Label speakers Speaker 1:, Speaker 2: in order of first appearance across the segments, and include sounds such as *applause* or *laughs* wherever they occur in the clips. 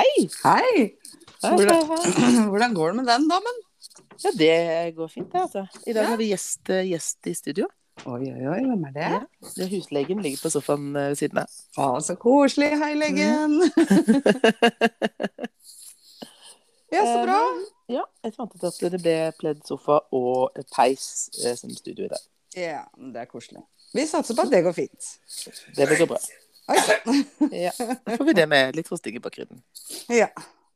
Speaker 1: Hei!
Speaker 2: Hei, hei,
Speaker 1: Hvordan,
Speaker 2: hei.
Speaker 1: *clears throat* hvordan går det med den damen?
Speaker 2: Ja, det går fint, det, altså. I dag har vi gjest, eh, gjest i studio.
Speaker 1: Oi, oi, oi, hvem er det?
Speaker 2: Ja. Det er Huslegen ligger på sofaen eh, ved siden av.
Speaker 1: Å, så koselig. Hei, *laughs* legen. ja, så bra.
Speaker 2: Ja, jeg fant ut at det ble pledd sofa og peis eh, som studio i dag.
Speaker 1: Ja, det er koselig. Vi satser på at det går fint.
Speaker 2: Det vil gå bra.
Speaker 1: Oi, sann.
Speaker 2: *laughs* Ja, Da får vi det med litt hosting i bakgrunnen.
Speaker 1: Ja.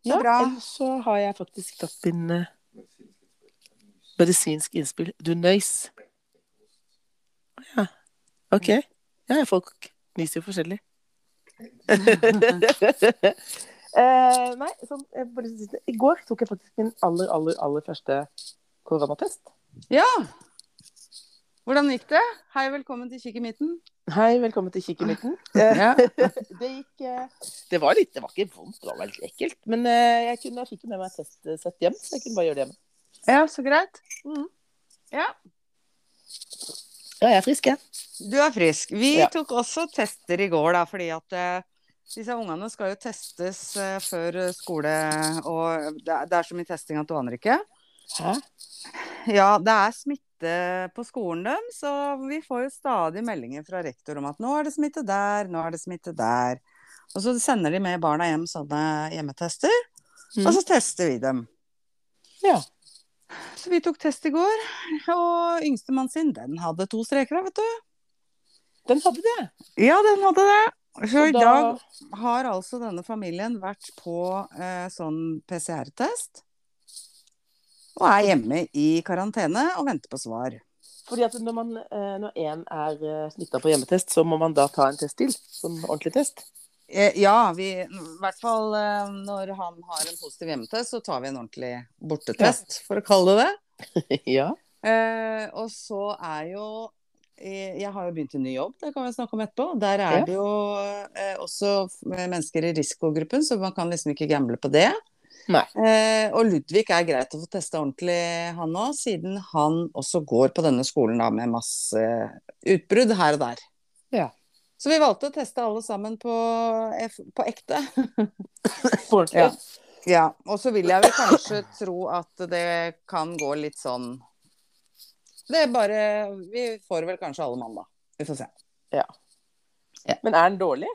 Speaker 2: Ja,
Speaker 1: bra.
Speaker 2: ellers så har jeg faktisk tatt inn eh, medisinsk innspill. Du nøys. Å Ja. OK. Ja, folk nyser jo forskjellig. *laughs* eh, nei, sånn, jeg bare synes- I går tok jeg faktisk min aller, aller, aller første koronatest.
Speaker 1: ja. Hvordan gikk det? Hei, velkommen til Kikk i midten.
Speaker 2: Hei, velkommen til Kikkermitten. Eh,
Speaker 1: Ja.
Speaker 2: det gikk eh, Det var litt, det var ikke vondt, det var veldig ekkelt. Men eh, jeg, kunne, jeg fikk jo med meg et testsett hjem, så jeg kunne bare gjøre det hjemme.
Speaker 1: *laughs* ja, så greit.
Speaker 2: Ja, jeg er frisk, jeg.
Speaker 1: Du er frisk. Vi
Speaker 2: Ja.
Speaker 1: tok også tester i går, da, fordi at eh, disse ungene skal jo testes eh, før eh, skole, og det er, det er så mye testing at du aner ikke.
Speaker 2: Hæ?
Speaker 1: Ja, det er smitte på skolen deres, og vi får jo stadig meldinger fra rektor om at nå er det smitte der, nå er det smitte der. Og så sender de med barna hjem sånne hjemmetester,
Speaker 2: Mhm.
Speaker 1: og så tester vi dem.
Speaker 2: Ja.
Speaker 1: Så vi tok test i går, og yngstemann sin, den hadde to streker, da, vet du.
Speaker 2: Den hadde det.
Speaker 1: Ja, den hadde det. Så
Speaker 2: Og
Speaker 1: i
Speaker 2: da-
Speaker 1: dag har altså denne familien vært på eh, sånn PCR-test. Og er hjemme i karantene og venter på svar.
Speaker 2: Fordi at når, man, eh, når en er smitta på hjemmetest, så må man da ta en test til? Sånn ordentlig
Speaker 1: *laughs*
Speaker 2: test?
Speaker 1: Eh, ja, vi I hvert fall eh, når han har en positiv hjemmetest, så tar vi en ordentlig bortetest, for å kalle det det.
Speaker 2: ja.
Speaker 1: Eh, og så er jo eh, Jeg har jo begynt en ny jobb, det kan vi snakke om etterpå. Der er
Speaker 2: Ja.
Speaker 1: det jo eh, også f- mennesker i risikogruppen, så man kan liksom ikke gamble på det.
Speaker 2: Nei.
Speaker 1: Eh, og Ludvig er greit å få testa ordentlig, han òg, siden han også går på denne skolen da med masse utbrudd her og der.
Speaker 2: Ja.
Speaker 1: Så vi valgte å teste alle sammen på, F på ekte.
Speaker 2: På ordentlig.
Speaker 1: Ja. Ja, og så vil jeg vel kanskje tro at det kan gå litt sånn Det er bare Vi får vel kanskje alle mandag. Vi får se.
Speaker 2: Men er den dårlig?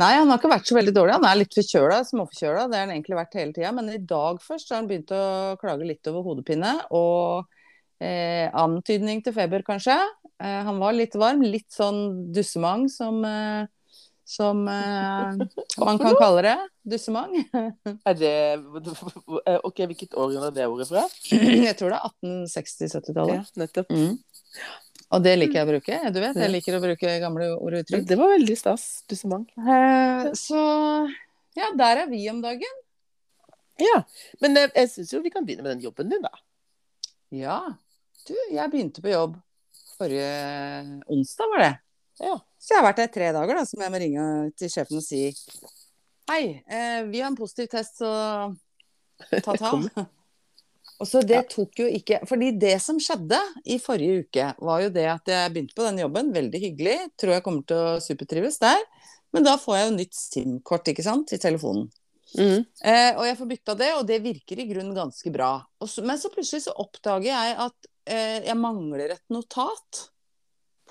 Speaker 1: Nei, han har ikke vært så veldig dårlig. Han er litt forkjøla, småforkjøla. Det har han egentlig vært hele tida. Men i dag først så har han begynt å klage litt over hodepine og eh, antydning til feber, kanskje. Eh, han var litt varm. Litt sånn dussemang som eh, som eh, man kan kalle det. Dussemang. *clears throat*
Speaker 2: Er det Eh, OK, hvilket århundre er det ordet fra?
Speaker 1: Jeg tror det er 1860-70-tallet.
Speaker 2: nettopp.
Speaker 1: Mm. Og det liker jeg å bruke. Du vet,
Speaker 2: Ja.
Speaker 1: jeg liker å bruke gamle ord og uttrykk.
Speaker 2: Det var veldig stas. Dussement.
Speaker 1: Eh, Så ja, der er vi om dagen.
Speaker 2: Ja. Men eh, jeg syns jo vi kan begynne med den jobben din, da.
Speaker 1: Ja. Du, jeg begynte på jobb forrige onsdag, var det.
Speaker 2: Ja.
Speaker 1: Så jeg har vært der i tre dager, da, så må jeg må ringe til sjefen og si Hei, eh, vi har en positiv test, så ta ta.
Speaker 2: Kom.
Speaker 1: *laughs* Og så det tok jo ikke Fordi det som skjedde i forrige uke, var jo det at jeg begynte på den jobben, veldig hyggelig, tror jeg kommer til å supertrives der. Men da får jeg jo nytt SIM-kort, ikke sant, i telefonen. Eh, og jeg får bytta det, og det virker i grunnen ganske bra. Og så, men så plutselig så oppdager jeg at eh, jeg mangler et notat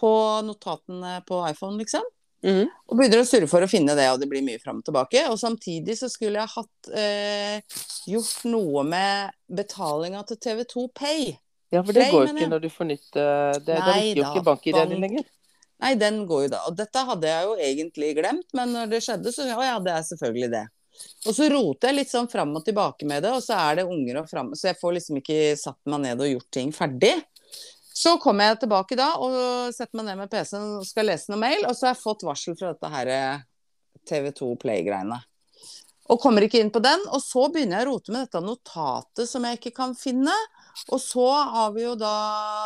Speaker 1: på notatene på iPhone, liksom.
Speaker 2: Mhm.
Speaker 1: Og begynner å surre for å finne det, og det blir mye fram og tilbake. Og samtidig så skulle jeg hatt eh, gjort noe med betalinga til TV2 Pay.
Speaker 2: Ja, for det
Speaker 1: Nei,
Speaker 2: går jo
Speaker 1: men
Speaker 2: ikke
Speaker 1: jeg-
Speaker 2: når du får nytt eh, det, Da
Speaker 1: Nei
Speaker 2: virker jo
Speaker 1: da,
Speaker 2: ikke bank-ID-en din
Speaker 1: bank-
Speaker 2: lenger.
Speaker 1: Nei, den går jo da. Og dette hadde jeg jo egentlig glemt, men når det skjedde, så ja, ja, det er selvfølgelig det. Og så roter jeg litt sånn fram og tilbake med det, og så er det unger og fram Så jeg får liksom ikke satt meg ned og gjort ting ferdig. Så kommer jeg tilbake da og setter meg ned med PC-en og skal lese noe mail, og så har jeg fått varsel fra dette her eh, TV2 Play-greiene. Og kommer ikke inn på den, og så begynner jeg å rote med dette notatet som jeg ikke kan finne. Og så har vi jo da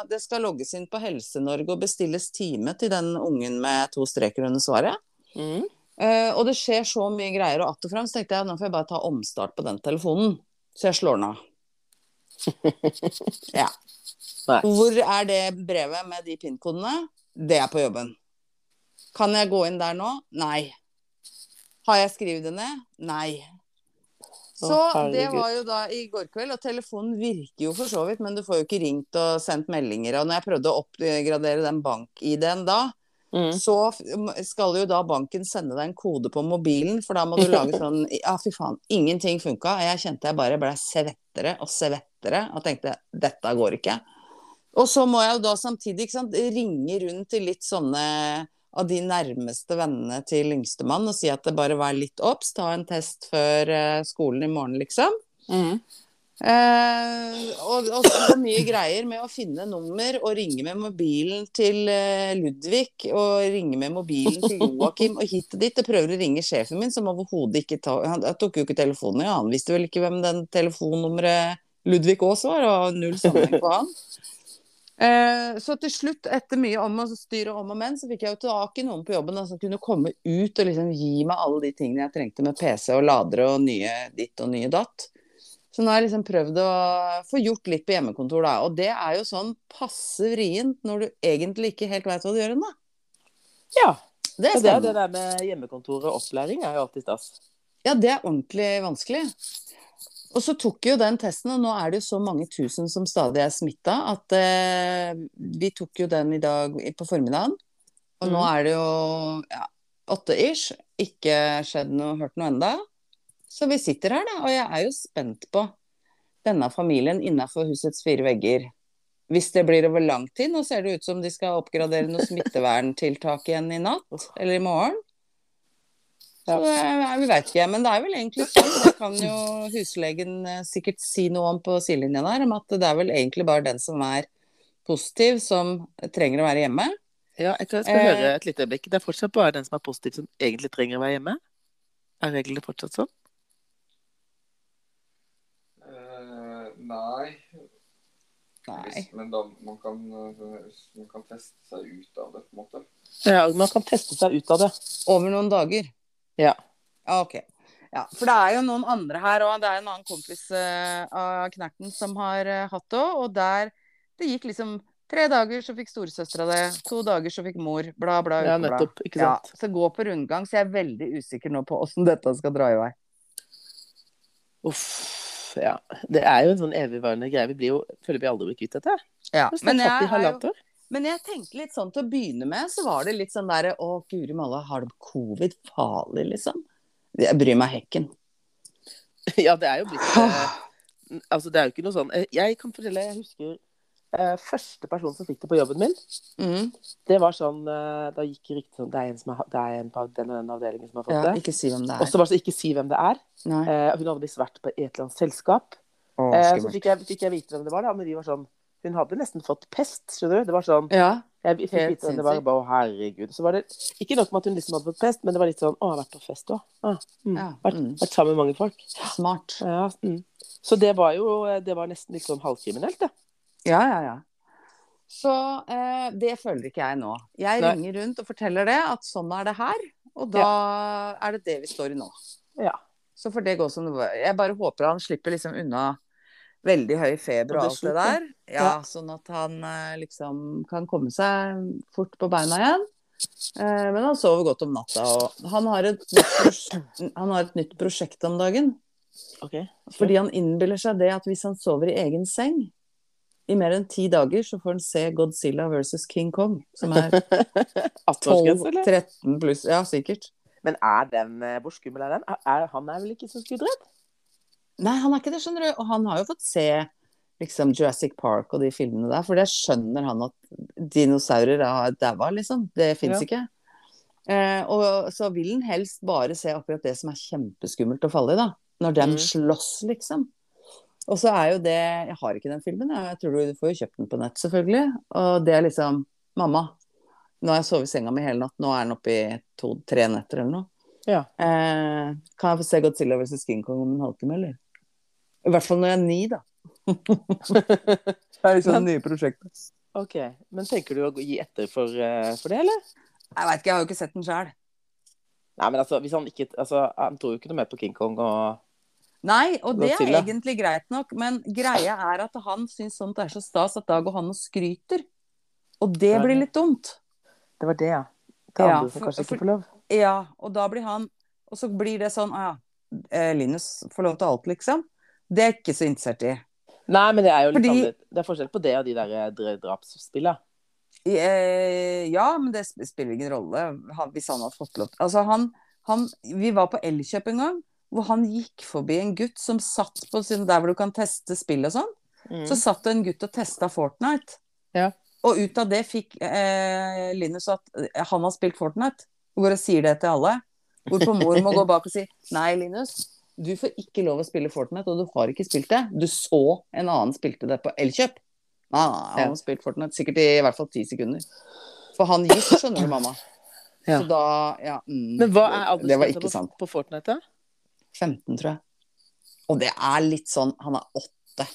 Speaker 1: Det skal logges inn på Helse-Norge og bestilles time til den ungen med to streker under svaret.
Speaker 2: Mhm.
Speaker 1: Eh, og det skjer så mye greier, og att og fram så tenkte jeg nå får jeg bare ta omstart på den telefonen. Så jeg slår den av. ja.
Speaker 2: Nei.
Speaker 1: Hvor er det brevet med de PIN-kodene? Det er på jobben. Kan jeg gå inn der nå? Nei. Har jeg skrevet det ned? Nei. Så det var jo da i går kveld, og telefonen virker jo for så vidt, men du får jo ikke ringt og sendt meldinger. Og når jeg prøvde å oppgradere den bank-ID-en da,
Speaker 2: mm.
Speaker 1: så f- skal jo da banken sende deg en kode på mobilen, for da må du lage sånn Ja, fy faen, ingenting funka. Jeg kjente jeg bare ble svettere og svettere og tenkte dette går ikke. Og så må jeg jo da samtidig ikke sant, ringe rundt til litt sånne av de nærmeste vennene til yngstemann og si at det bare var litt obs, ta en test før eh, skolen i morgen, liksom.
Speaker 2: Mm.
Speaker 1: Eh, og, og så mye greier med å finne nummer og ringe med mobilen til eh, Ludvig og ringe med mobilen til Joakim og hit og dit. Og prøver å ringe sjefen min, som overhodet ikke ta, han, han tok jo ikke telefonen. Ja, han visste vel ikke hvem den telefonnummeret Ludvig Aas var, og null sammenheng på han. Eh, så til slutt, etter mye om og styr og om og men, så fikk jeg jo tak i noen på jobben da, som kunne komme ut og liksom gi meg alle de tingene jeg trengte med PC og ladere og nye ditt og nye datt. Så nå har jeg liksom prøvd å få gjort litt på hjemmekontor, da. Og det er jo sånn passe vrient når du egentlig ikke helt veit hva du gjør ennå.
Speaker 2: Ja.
Speaker 1: Det er
Speaker 2: Og det, er det
Speaker 1: spennende.
Speaker 2: der med hjemmekontor og opplæring er jo alltid stas.
Speaker 1: Ja, det er ordentlig vanskelig. Og så tok jo den testen, og nå er det jo så mange tusen som stadig er smitta, at eh, vi tok jo den i dag i- på formiddagen. Og nå er det jo ja, åtte ish. Ikke skjedd noe, hørt noe enda. Så vi sitter her, da. Og jeg er jo spent på denne familien innafor husets fire vegger. Hvis det blir over lang tid. Nå ser det ut som de skal oppgradere noen smitteverntiltak igjen i natt eller i morgen. Så
Speaker 2: Ja.
Speaker 1: det er- vi veit ikke. Men det er vel egentlig sånn, det kan jo huslegen eh, sikkert si noe om på sidelinja der, om at det er vel egentlig bare den som er positiv, som trenger å være hjemme.
Speaker 2: Ja, jeg skal, jeg skal
Speaker 1: Eh.
Speaker 2: høre et lite øyeblikk. Det er fortsatt bare den som er positiv, som egentlig trenger å være hjemme. Er reglene fortsatt sånn?
Speaker 3: Eh, nei.
Speaker 1: Nei.
Speaker 3: Hvis, men da, man, kan, eh, man kan teste seg ut av det, på en måte.
Speaker 2: Ja, man kan teste seg ut av det.
Speaker 1: Over noen dager?
Speaker 2: Ja.
Speaker 1: Ja, ok. Ja, for det er jo noen andre her òg. Det er en annen kompis eh, av Knerten som har eh, hatt det òg. Og der det gikk liksom tre dager, så fikk storesøstera det. To dager, så fikk mor. Bla, bla,
Speaker 2: Ja,
Speaker 1: ukeblad.
Speaker 2: nettopp. Ikke
Speaker 1: Ja,
Speaker 2: sant.
Speaker 1: så gå på rundgang. Så jeg er veldig usikker nå på åssen dette skal dra i vei.
Speaker 2: Uff. Ja. Det er jo en sånn evigvarende greie. Vi blir jo, føler vi aldri blir kvitt dette.
Speaker 1: Ja,
Speaker 2: Vi har
Speaker 1: men
Speaker 2: snart hatt det
Speaker 1: jeg
Speaker 2: i
Speaker 1: er jo
Speaker 2: halvannet år.
Speaker 1: Men jeg tenkte litt sånn til å begynne med, så var det litt sånn derre Å, guri malla, har du covid? Farlig, liksom. Jeg bryr meg hekken.
Speaker 2: *laughs* Ja, det er jo blitt eh, Altså, det er jo ikke noe sånn eh, Jeg kan fortelle, jeg husker eh, første person som fikk det på jobben min.
Speaker 1: Mm.
Speaker 2: Det var sånn eh, Da gikk det riktig sånn Det er en, som har, det er en på den og den avdelingen som har fått
Speaker 1: Ja,
Speaker 2: det.
Speaker 1: ikke si hvem det
Speaker 2: Og
Speaker 1: er.
Speaker 2: så var det så ikke si hvem det er.
Speaker 1: Nei.
Speaker 2: Eh, hun hadde visst vært på et eller annet selskap.
Speaker 1: Å,
Speaker 2: Eh, så
Speaker 1: skummelt.
Speaker 2: fikk jeg, fikk jeg vite hvem det var, da, men vi var sånn Hun hadde nesten fått pest, skjønner du. Det var sånn
Speaker 1: Ja.
Speaker 2: Jeg fikk
Speaker 1: Helt
Speaker 2: vite hvem det var,
Speaker 1: sinnssykt.
Speaker 2: og bare å, herregud. Så var det ikke nok med at hun liksom hadde fått pest, men det var litt sånn Å, jeg har vært på fest òg. Ah, mm.
Speaker 1: Ja,
Speaker 2: vært,
Speaker 1: mm.
Speaker 2: vært sammen med mange folk.
Speaker 1: Smart.
Speaker 2: Ja, mm. Så det var jo Det var nesten litt sånn halvkriminelt, det.
Speaker 1: Ja, ja, ja. Så eh, det føler ikke jeg nå. Jeg
Speaker 2: Nei.
Speaker 1: ringer rundt og forteller det, at sånn er det her. Og da er det det vi står i nå.
Speaker 2: Ja.
Speaker 1: Så får det gå som det var. Jeg bare håper han slipper liksom unna veldig høy feber og
Speaker 2: Og det
Speaker 1: alt det
Speaker 2: slutter.
Speaker 1: der. Ja, Sånn at han eh, liksom kan komme seg fort på beina igjen. Eh, men han sover godt om natta. Og han har et nytt, prosj- han har et nytt prosjekt om dagen.
Speaker 2: OK.
Speaker 1: Fordi han innbiller seg det at hvis han sover i egen seng i mer enn ti dager, så får han se Godzilla versus King Kong, som er
Speaker 2: 18-årsgrense, eller?
Speaker 1: 12-13 pluss. Ja, sikkert.
Speaker 2: Men er den eh, Hvor skummel er den? Er, er, han er vel ikke så skuddredd?
Speaker 1: Nei, han er ikke det, skjønner du. Og han har jo fått se liksom Jurassic Park og de filmene der, for det skjønner han at dinosaurer har daua, liksom. Det fins
Speaker 2: Ja.
Speaker 1: ikke. Eh, og så vil han helst bare se akkurat det som er kjempeskummelt å falle i, da. Når dem
Speaker 2: Mm.
Speaker 1: slåss, liksom. Og så er jo det Jeg har ikke den filmen, jeg. jeg tror du, du får jo kjøpt den på nett, selvfølgelig. Og det er liksom Mamma, nå har jeg sovet i senga mi hele natt, nå er den oppe i to-tre netter eller noe.
Speaker 2: Ja.
Speaker 1: Eh, kan jeg få se Godzilla vs. King Kong om en halvtime, eller? I hvert fall når jeg er ni, da. Det er
Speaker 2: liksom
Speaker 1: nye prosjektet.
Speaker 2: OK. Men tenker du å gå- gi etter for, eh, for det, eller?
Speaker 1: Jeg veit ikke, jeg har jo ikke sett den sjøl.
Speaker 2: Nei, men altså, hvis han ikke altså, Han tror jo ikke noe mer på King Kong og
Speaker 1: Nei, og det er
Speaker 2: Godzilla.
Speaker 1: egentlig greit nok, men greia er at han syns sånt er så stas at da går han og skryter. Og det
Speaker 2: Ja,
Speaker 1: blir
Speaker 2: ja.
Speaker 1: litt dumt.
Speaker 2: Det var det, ja.
Speaker 1: Ja,
Speaker 2: Det andre som
Speaker 1: for-
Speaker 2: kanskje
Speaker 1: for-
Speaker 2: ikke får lov.
Speaker 1: Ja, og da blir han Og så blir det sånn, ah, ja. eh, Linus får lov til alt, liksom. Det er jeg ikke så interessert i.
Speaker 2: Nei, men det er jo litt
Speaker 1: Fordi-
Speaker 2: annerledes. Det er forskjell på det og de der eh, dra- drapsspillene.
Speaker 1: I, eh, Ja, men det sp- spiller ingen rolle han- hvis han hadde fått lov til Altså, han, han Vi var på Elkjøp en gang, hvor han gikk forbi en gutt som satt på sin Der hvor du kan teste spill og sånn. Så satt det en gutt og testa Fortnite.
Speaker 2: Mm. Ja.
Speaker 1: Og ut av det fikk eh, Linus at eh, han har spilt Fortnite. Og går og sier det til alle. Hvorpå mor må gå bak og si nei, Linus. Du får ikke lov å spille Fortnite, og du har ikke spilt det. Du så en annen spilte det på Elkjøp. Nei, nei, nei, han har spilt Fortnite sikkert i, i hvert fall ti sekunder. For han gikk, skjønner du, mamma.
Speaker 2: Ja.
Speaker 1: Så da ja, mm,
Speaker 2: Men hva er
Speaker 1: Det var
Speaker 2: aldersgrensa
Speaker 1: ikke
Speaker 2: på,
Speaker 1: sant.
Speaker 2: på Fortnite, da?
Speaker 1: 15, tror jeg. Og det er litt sånn Han er åtte.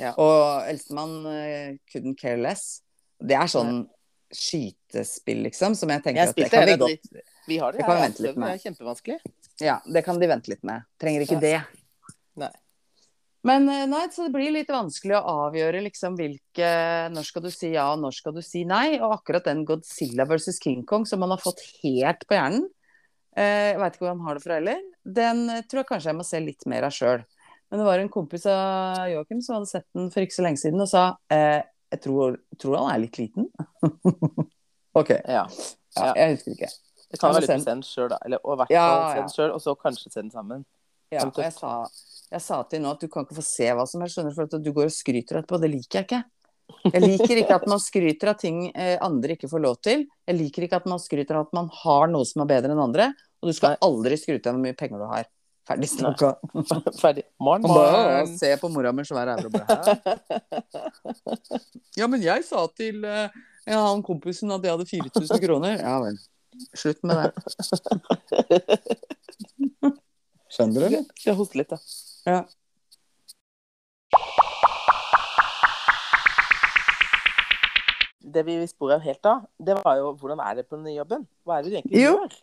Speaker 2: Ja.
Speaker 1: Og eldstemann eh, couldn't care less. Det er sånn skytespill, liksom, som jeg tenker
Speaker 2: Jeg
Speaker 1: at det
Speaker 2: spilte
Speaker 1: kan,
Speaker 2: det,
Speaker 1: vi
Speaker 2: det er
Speaker 1: godt,
Speaker 2: Vi har det,
Speaker 1: Det kan vi
Speaker 2: jeg har
Speaker 1: vente litt
Speaker 2: prøvd, det
Speaker 1: med.
Speaker 2: er kjempevanskelig.
Speaker 1: ja, det kan de vente litt med. Trenger ikke det.
Speaker 2: Nei.
Speaker 1: Men eh, nei, så det blir litt vanskelig å avgjøre liksom hvilke Når skal du si ja, og når skal du si nei? Og akkurat den Godzilla versus King Kong som han har fått helt på hjernen, eh, jeg veit ikke hvor han har det fra heller, den eh, tror jeg kanskje jeg må se litt mer av sjøl. Men det var en kompis av Joakim som hadde sett den for ikke så lenge siden og sa eh, jeg tror, tror han er litt liten. *laughs* ok.
Speaker 2: Ja.
Speaker 1: Ja, jeg husker ikke.
Speaker 2: Det kan
Speaker 1: Ja,
Speaker 2: være
Speaker 1: men
Speaker 2: litt sendt sjøl, da. Eller, og i hvert
Speaker 1: Altså, Ja,
Speaker 2: fall
Speaker 1: ja.
Speaker 2: sendt sjøl, og så kanskje sendt sammen. *laughs*
Speaker 1: Ja, og jeg sa, jeg sa til henne nå at du kan ikke få se hva som helst, skjønner du, for at du går og skryter etterpå. Det liker jeg ikke. Jeg liker ikke at man skryter av ting eh, andre ikke får lov til. Jeg liker ikke at man skryter av at man har noe som er bedre enn andre. Og du skal aldri skryte av hvor mye penger du har. Ferdig snakka.
Speaker 2: Ferdig. Morn,
Speaker 1: Han bare
Speaker 2: morn.
Speaker 1: ser på mora med svær ære og bare Hæ? Ja, men jeg sa til eh, ja, han kompisen at jeg hadde 4000 kroner. Ja vel. Slutt med det. Skjønner du, eller?
Speaker 2: Skal jeg hoste litt, da.
Speaker 1: Ja.
Speaker 2: Det vi spor av helt av, det var jo hvordan er det på den nye jobben? Hva er det du egentlig
Speaker 1: Jo.
Speaker 2: gjør?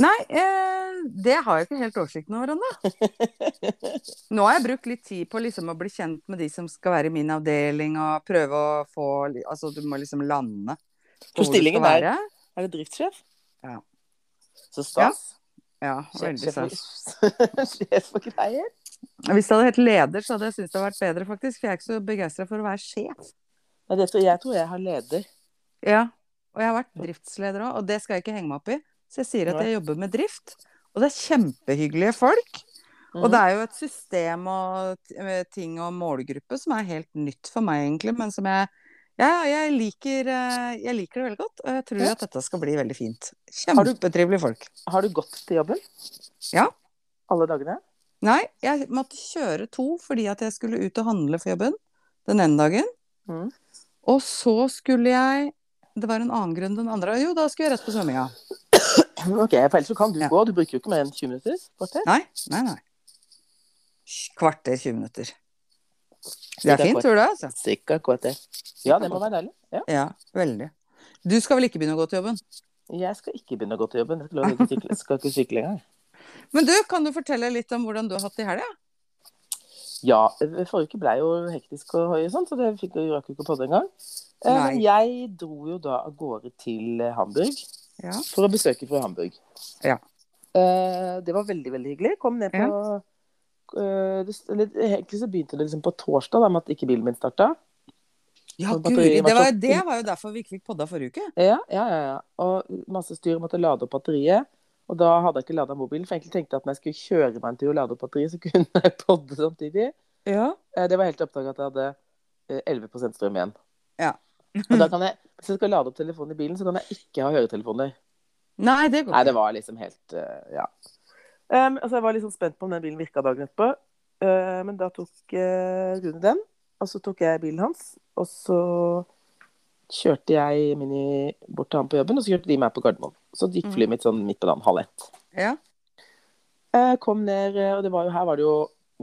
Speaker 1: Nei, eh, det har jeg ikke helt oversikten over
Speaker 2: *laughs*
Speaker 1: ennå. Nå har jeg brukt litt tid på liksom å bli kjent med de som skal være i min avdeling, og prøve å få li- Altså, du må liksom lande på
Speaker 2: For
Speaker 1: hvor du
Speaker 2: stillingen
Speaker 1: skal
Speaker 2: er-
Speaker 1: være.
Speaker 2: Er det driftssjef?
Speaker 1: Ja.
Speaker 2: Så stas.
Speaker 1: Ja,
Speaker 2: Sjef-
Speaker 1: veldig stas.
Speaker 2: *laughs* Sjef og greier.
Speaker 1: Hvis det hadde hett leder, så hadde jeg syntes det hadde vært bedre, faktisk. For jeg er ikke så begeistra for å være sjef.
Speaker 2: Nei, det tror jeg tror jeg har leder.
Speaker 1: Ja. Og jeg har vært driftsleder òg, og det skal jeg ikke henge meg opp i. Så jeg sier at
Speaker 2: Nei.
Speaker 1: jeg jobber med drift, og det er kjempehyggelige folk.
Speaker 2: Mhm.
Speaker 1: Og det er jo et system og t- eh, ting og målgruppe som er helt nytt for meg, egentlig. Men som jeg Ja, jeg liker, eh, jeg liker det veldig godt. Og jeg tror
Speaker 2: Ja.
Speaker 1: at dette skal bli veldig fint.
Speaker 2: Har du-
Speaker 1: Kjempetrivelige folk.
Speaker 2: Har du gått til jobben?
Speaker 1: Ja.
Speaker 2: Alle dagene?
Speaker 1: Nei, jeg måtte kjøre to fordi at jeg skulle ut og handle for jobben den ene dagen.
Speaker 2: Mhm.
Speaker 1: Og så skulle jeg Det var en annen grunn den andre. Jo, da skulle jeg rett på svømminga.
Speaker 2: *laughs* Ok, for ellers så kan du
Speaker 1: Ja.
Speaker 2: gå. Du bruker jo ikke mer enn 20 minutter. kvarter.
Speaker 1: Nei, nei, nei. Kvarter, 20 minutter. Det
Speaker 2: Det er
Speaker 1: er fint,
Speaker 2: kvarter.
Speaker 1: tror du det? Altså.
Speaker 2: Cirka et kvarter. Ja, det må være deilig. Ja.
Speaker 1: Ja, veldig. Du skal vel ikke begynne å gå til jobben?
Speaker 2: Jeg skal ikke begynne å gå til jobben. Jeg skal ikke sykle, skal ikke sykle engang.
Speaker 1: Men du, kan du fortelle litt om hvordan du har hatt det i helga?
Speaker 2: Ja, forrige uke ble jo hektisk og høy og sånn, så det fikk jeg rakk jo ikke å podde engang. Eh, Men
Speaker 1: Nei.
Speaker 2: jeg dro jo da av gårde til eh, Hamburg
Speaker 1: Ja.
Speaker 2: for å besøke fru Hamburg.
Speaker 1: Ja.
Speaker 2: Eh, Det var veldig, veldig hyggelig. Kom ned på eh, det- eller, Egentlig så begynte det liksom på torsdag, da, med at ikke bilen min starta.
Speaker 1: Ja,
Speaker 2: Og
Speaker 1: guri,
Speaker 2: batteriet
Speaker 1: det
Speaker 2: var
Speaker 1: var,
Speaker 2: topp.
Speaker 1: det var jo derfor vi ikke fikk podda forrige uke.
Speaker 2: Ja, ja, ja, ja. Og masse styr måtte lade opp batteriet. Og da hadde jeg ikke lada mobilen, for jeg egentlig tenkte at når jeg skulle kjøre meg en tur og lade opp batteriet, så kunne jeg podde samtidig.
Speaker 1: Ja.
Speaker 2: Eh, Det var helt oppdaga at jeg hadde eh, 11 strøm igjen.
Speaker 1: Ja.
Speaker 2: Og da kan jeg, hvis jeg skal lade opp telefonen i bilen, så kan jeg ikke ha høretelefoner.
Speaker 1: Nei, det går
Speaker 2: Nei,
Speaker 1: ikke.
Speaker 2: det var liksom helt eh, Ja. Um, altså, jeg var liksom spent på om den bilen virka dagen etterpå, Eh, men da tok eh, Rune den. Og så tok jeg bilen hans, og så kjørte jeg Mini bort til han på jobben, og så kjørte de meg på Gardermoen. Så gikk flyet mitt sånn midt på dagen, halv ett.
Speaker 1: Ja.
Speaker 2: Eh, kom ned, eh, og det var jo, her var det jo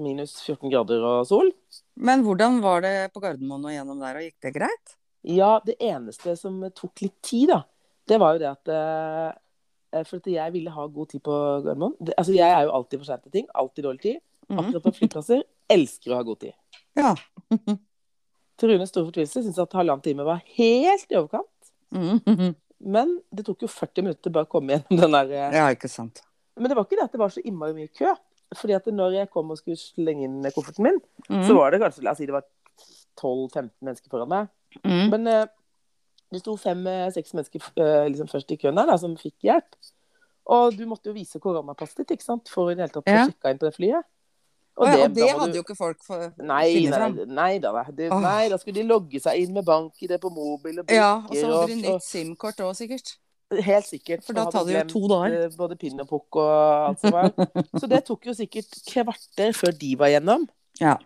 Speaker 2: minus 14 grader og sol.
Speaker 1: Men hvordan var det på Gardermoen og gjennom der, og gikk det greit?
Speaker 2: Ja, det eneste som tok litt tid, da, det var jo det at eh, For at jeg ville ha god tid på Gardermoen. Det- Altså, jeg er jo alltid for sein til ting. Alltid dårlig tid.
Speaker 1: Mhm.
Speaker 2: Akkurat på flyplasser elsker å ha god tid.
Speaker 1: Ja.
Speaker 2: *laughs* Til Runes store fortvilelse syntes jeg at halvannen time var helt i overkant.
Speaker 1: Mhm.
Speaker 2: Men det tok jo 40 minutter bare å komme gjennom den der eh,
Speaker 1: Ja, ikke sant.
Speaker 2: Men det var ikke det at det var så innmari mye kø. Fordi at når jeg kom og skulle slenge inn kofferten min,
Speaker 1: Mm.
Speaker 2: så var det kanskje la oss si det var 12-15 mennesker foran meg.
Speaker 1: mm.
Speaker 2: Men eh, det sto fem-seks mennesker eh, liksom først i køen der, da, som fikk hjelp. Og du måtte jo vise koronapasset ditt ikke sant? for i det hele tatt å
Speaker 1: Ja.
Speaker 2: få sjekka inn på det flyet.
Speaker 1: Og, ja,
Speaker 2: det-
Speaker 1: og
Speaker 2: da
Speaker 1: det
Speaker 2: må
Speaker 1: hadde
Speaker 2: du-
Speaker 1: jo ikke folk for...
Speaker 2: Nei,
Speaker 1: funnet
Speaker 2: nei,
Speaker 1: fram.
Speaker 2: nei, da, nei. Det,
Speaker 1: Åh.
Speaker 2: nei, da skulle de logge seg inn med bank-ID på mobil og
Speaker 1: Ja, og så
Speaker 2: brikker
Speaker 1: hadde de
Speaker 2: og-
Speaker 1: nytt SIM-kort òg, sikkert.
Speaker 2: og- Helt sikkert.
Speaker 1: For da
Speaker 2: og hadde
Speaker 1: tar det jo to
Speaker 2: glemt,
Speaker 1: dager.
Speaker 2: eh, Både pinn og pukk og alt som
Speaker 1: *laughs*
Speaker 2: var. Så det tok jo sikkert kvarter før de var gjennom.
Speaker 1: Ja.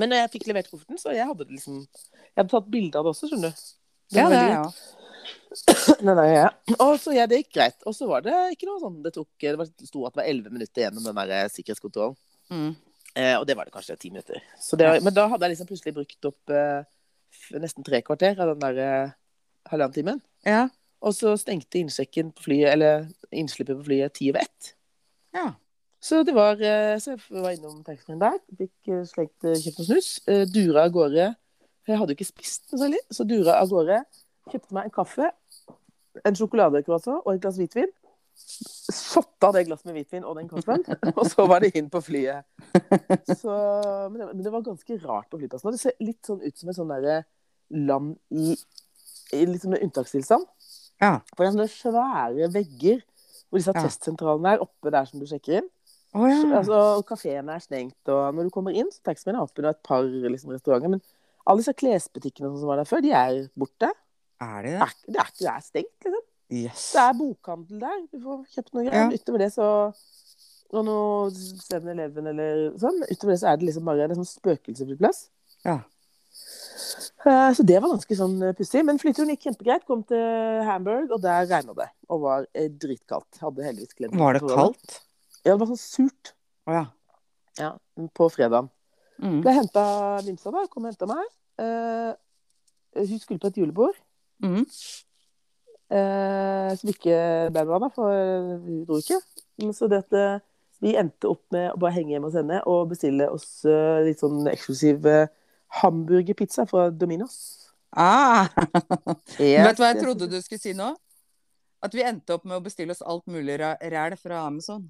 Speaker 2: Men når jeg fikk levert kofferten, så jeg hadde det liksom Jeg hadde tatt bilde av det også, skjønner du. Det
Speaker 1: Ja,
Speaker 2: var
Speaker 1: det er
Speaker 2: veldig gøy.
Speaker 1: ja.
Speaker 2: Nei, nei, ja. Og så ja, det gikk greit. Og så var det ikke noe sånn Det tok, det var- det sto at det var 11 minutter gjennom den der eh, sikkerhetskontrollen.
Speaker 1: Mm.
Speaker 2: Eh, og det var det kanskje 10 minutter. Så det, var- men da hadde jeg liksom plutselig brukt opp eh, f- nesten tre kvarter av den der eh, halvannen timen.
Speaker 1: ja.
Speaker 2: Og så stengte innsjekken på flyet, eller innslippet på flyet ti over ett.
Speaker 1: Ja.
Speaker 2: Så det var eh, Så jeg var innom taxfree-en der, fikk eh, slengt eh, kjøpt noe snus, eh, dura av gårde. Jeg hadde jo ikke spist noe særlig, så dura av gårde. Kjøpte meg en kaffe, en sjokoladecroissant og et glass hvitvin. Shotta det glasset med hvitvin og den kaffen, *laughs* og så var det inn på flyet. Så, men, det, men det var ganske rart på flyplassen. og Det ser litt sånn ut som et sånn derre land i, i litt sånn unntakstilstand.
Speaker 1: Ja.
Speaker 2: For det er sånne svære vegger hvor disse
Speaker 1: Ja.
Speaker 2: testsentralene er oppe der som du sjekker inn.
Speaker 1: Å ja.
Speaker 2: Altså, Kafeen er stengt, og når du kommer inn, så taxfree-en er oppe og et par liksom, restauranter. Men alle disse klesbutikkene og sånn som var der før, de er borte.
Speaker 1: Er de
Speaker 2: Det
Speaker 1: det?
Speaker 2: er, ikke- det er, ikke- det er stengt, liksom.
Speaker 1: Yes.
Speaker 2: Det er bokhandel der. Du får kjøpt noe greier.
Speaker 1: Ja.
Speaker 2: Utover det så og noe 7-Eleven eller sånn. Utover det så er det liksom bare en sånn spøkelsesfull plass.
Speaker 1: Ja.
Speaker 2: Eh, Så det var ganske sånn eh, pussig. Men flyturen gikk kjempegreit. Kom til Hamburg, og der regna det. Og var eh, dritkaldt. Hadde heldigvis glemt
Speaker 1: Var det kaldt?
Speaker 2: Ja, det var sånn surt
Speaker 1: Å ja.
Speaker 2: ja, på fredagen.
Speaker 1: Mm.
Speaker 2: Ble henta Vimsa, da. Kom og henta meg. Eh, hun skulle på et julebord
Speaker 1: Mm.
Speaker 2: eh, som ikke ble med, da, for hun dro ikke. Men Så det at eh, vi endte opp med å bare henge hjemme hos henne og bestille oss eh, litt sånn eksklusiv eh, hamburgerpizza fra Dominos.
Speaker 1: Ah. Vet du hva jeg
Speaker 2: Yes,
Speaker 1: trodde du skulle si nå? At vi endte opp med å bestille oss alt mulig ra- ræl fra Amazon.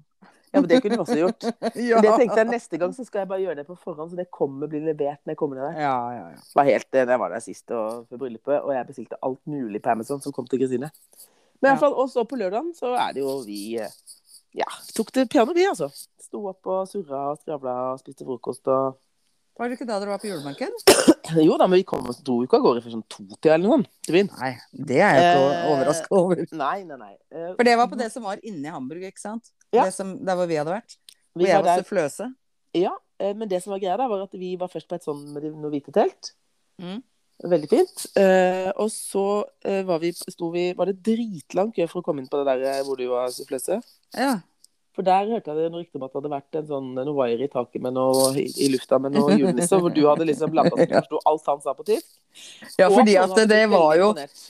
Speaker 2: Ja, men Det kunne vi også
Speaker 1: *laughs*
Speaker 2: gjort.
Speaker 1: ja.
Speaker 2: Det tenkte jeg Neste gang så skal jeg bare gjøre det på forhånd, så det kommer bli levert når jeg kommer ned der.
Speaker 1: Ja, ja, ja.
Speaker 2: var helt, da jeg var der sist og, for bryllupet, og jeg bestilte alt mulig på Amazon som kom til Kristine.
Speaker 1: Ja.
Speaker 2: Men i hvert fall, og så på lørdagen så er det jo vi eh, ja, tok det piano, vi, altså. Sto opp og surra og skravla og spiste frokost og Eh,
Speaker 1: Var det ikke da dere var på julemarked?
Speaker 2: Jo da, men vi kom oss to uker av gårde før sånn to-tida eller noe sånt. til byen.
Speaker 1: Nei, det er jeg ikke
Speaker 2: Eh,
Speaker 1: overraska over.
Speaker 2: Nei, nei, nei. Eh,
Speaker 1: For det var på det som var inni Hamburg, ikke sant?
Speaker 2: Ja.
Speaker 1: Det som, der hvor vi hadde vært.
Speaker 2: vi
Speaker 1: Hvor jeg
Speaker 2: var
Speaker 1: var så
Speaker 2: der,
Speaker 1: fløse.
Speaker 2: ja, eh, men det som var greia, da, var at vi var først på et sånn med de- noe hvite telt.
Speaker 1: Mm.
Speaker 2: Veldig fint. Eh, og så eh, var, vi, sto vi, var det dritlang kø for å komme inn på det der eh, hvor du var, Fløse.
Speaker 1: Ja.
Speaker 2: For der hørte jeg noen rykter om at det hadde vært en sånn, noe wire i taket med noe i, i lufta med noe julenisse, hvor du hadde liksom blanda så du forsto alt han sa på tysk.
Speaker 1: ja,
Speaker 2: Og
Speaker 1: fordi
Speaker 2: noen
Speaker 1: at
Speaker 2: hadde
Speaker 1: det, det
Speaker 2: blitt
Speaker 1: var
Speaker 2: veldig
Speaker 1: jo
Speaker 2: imponert.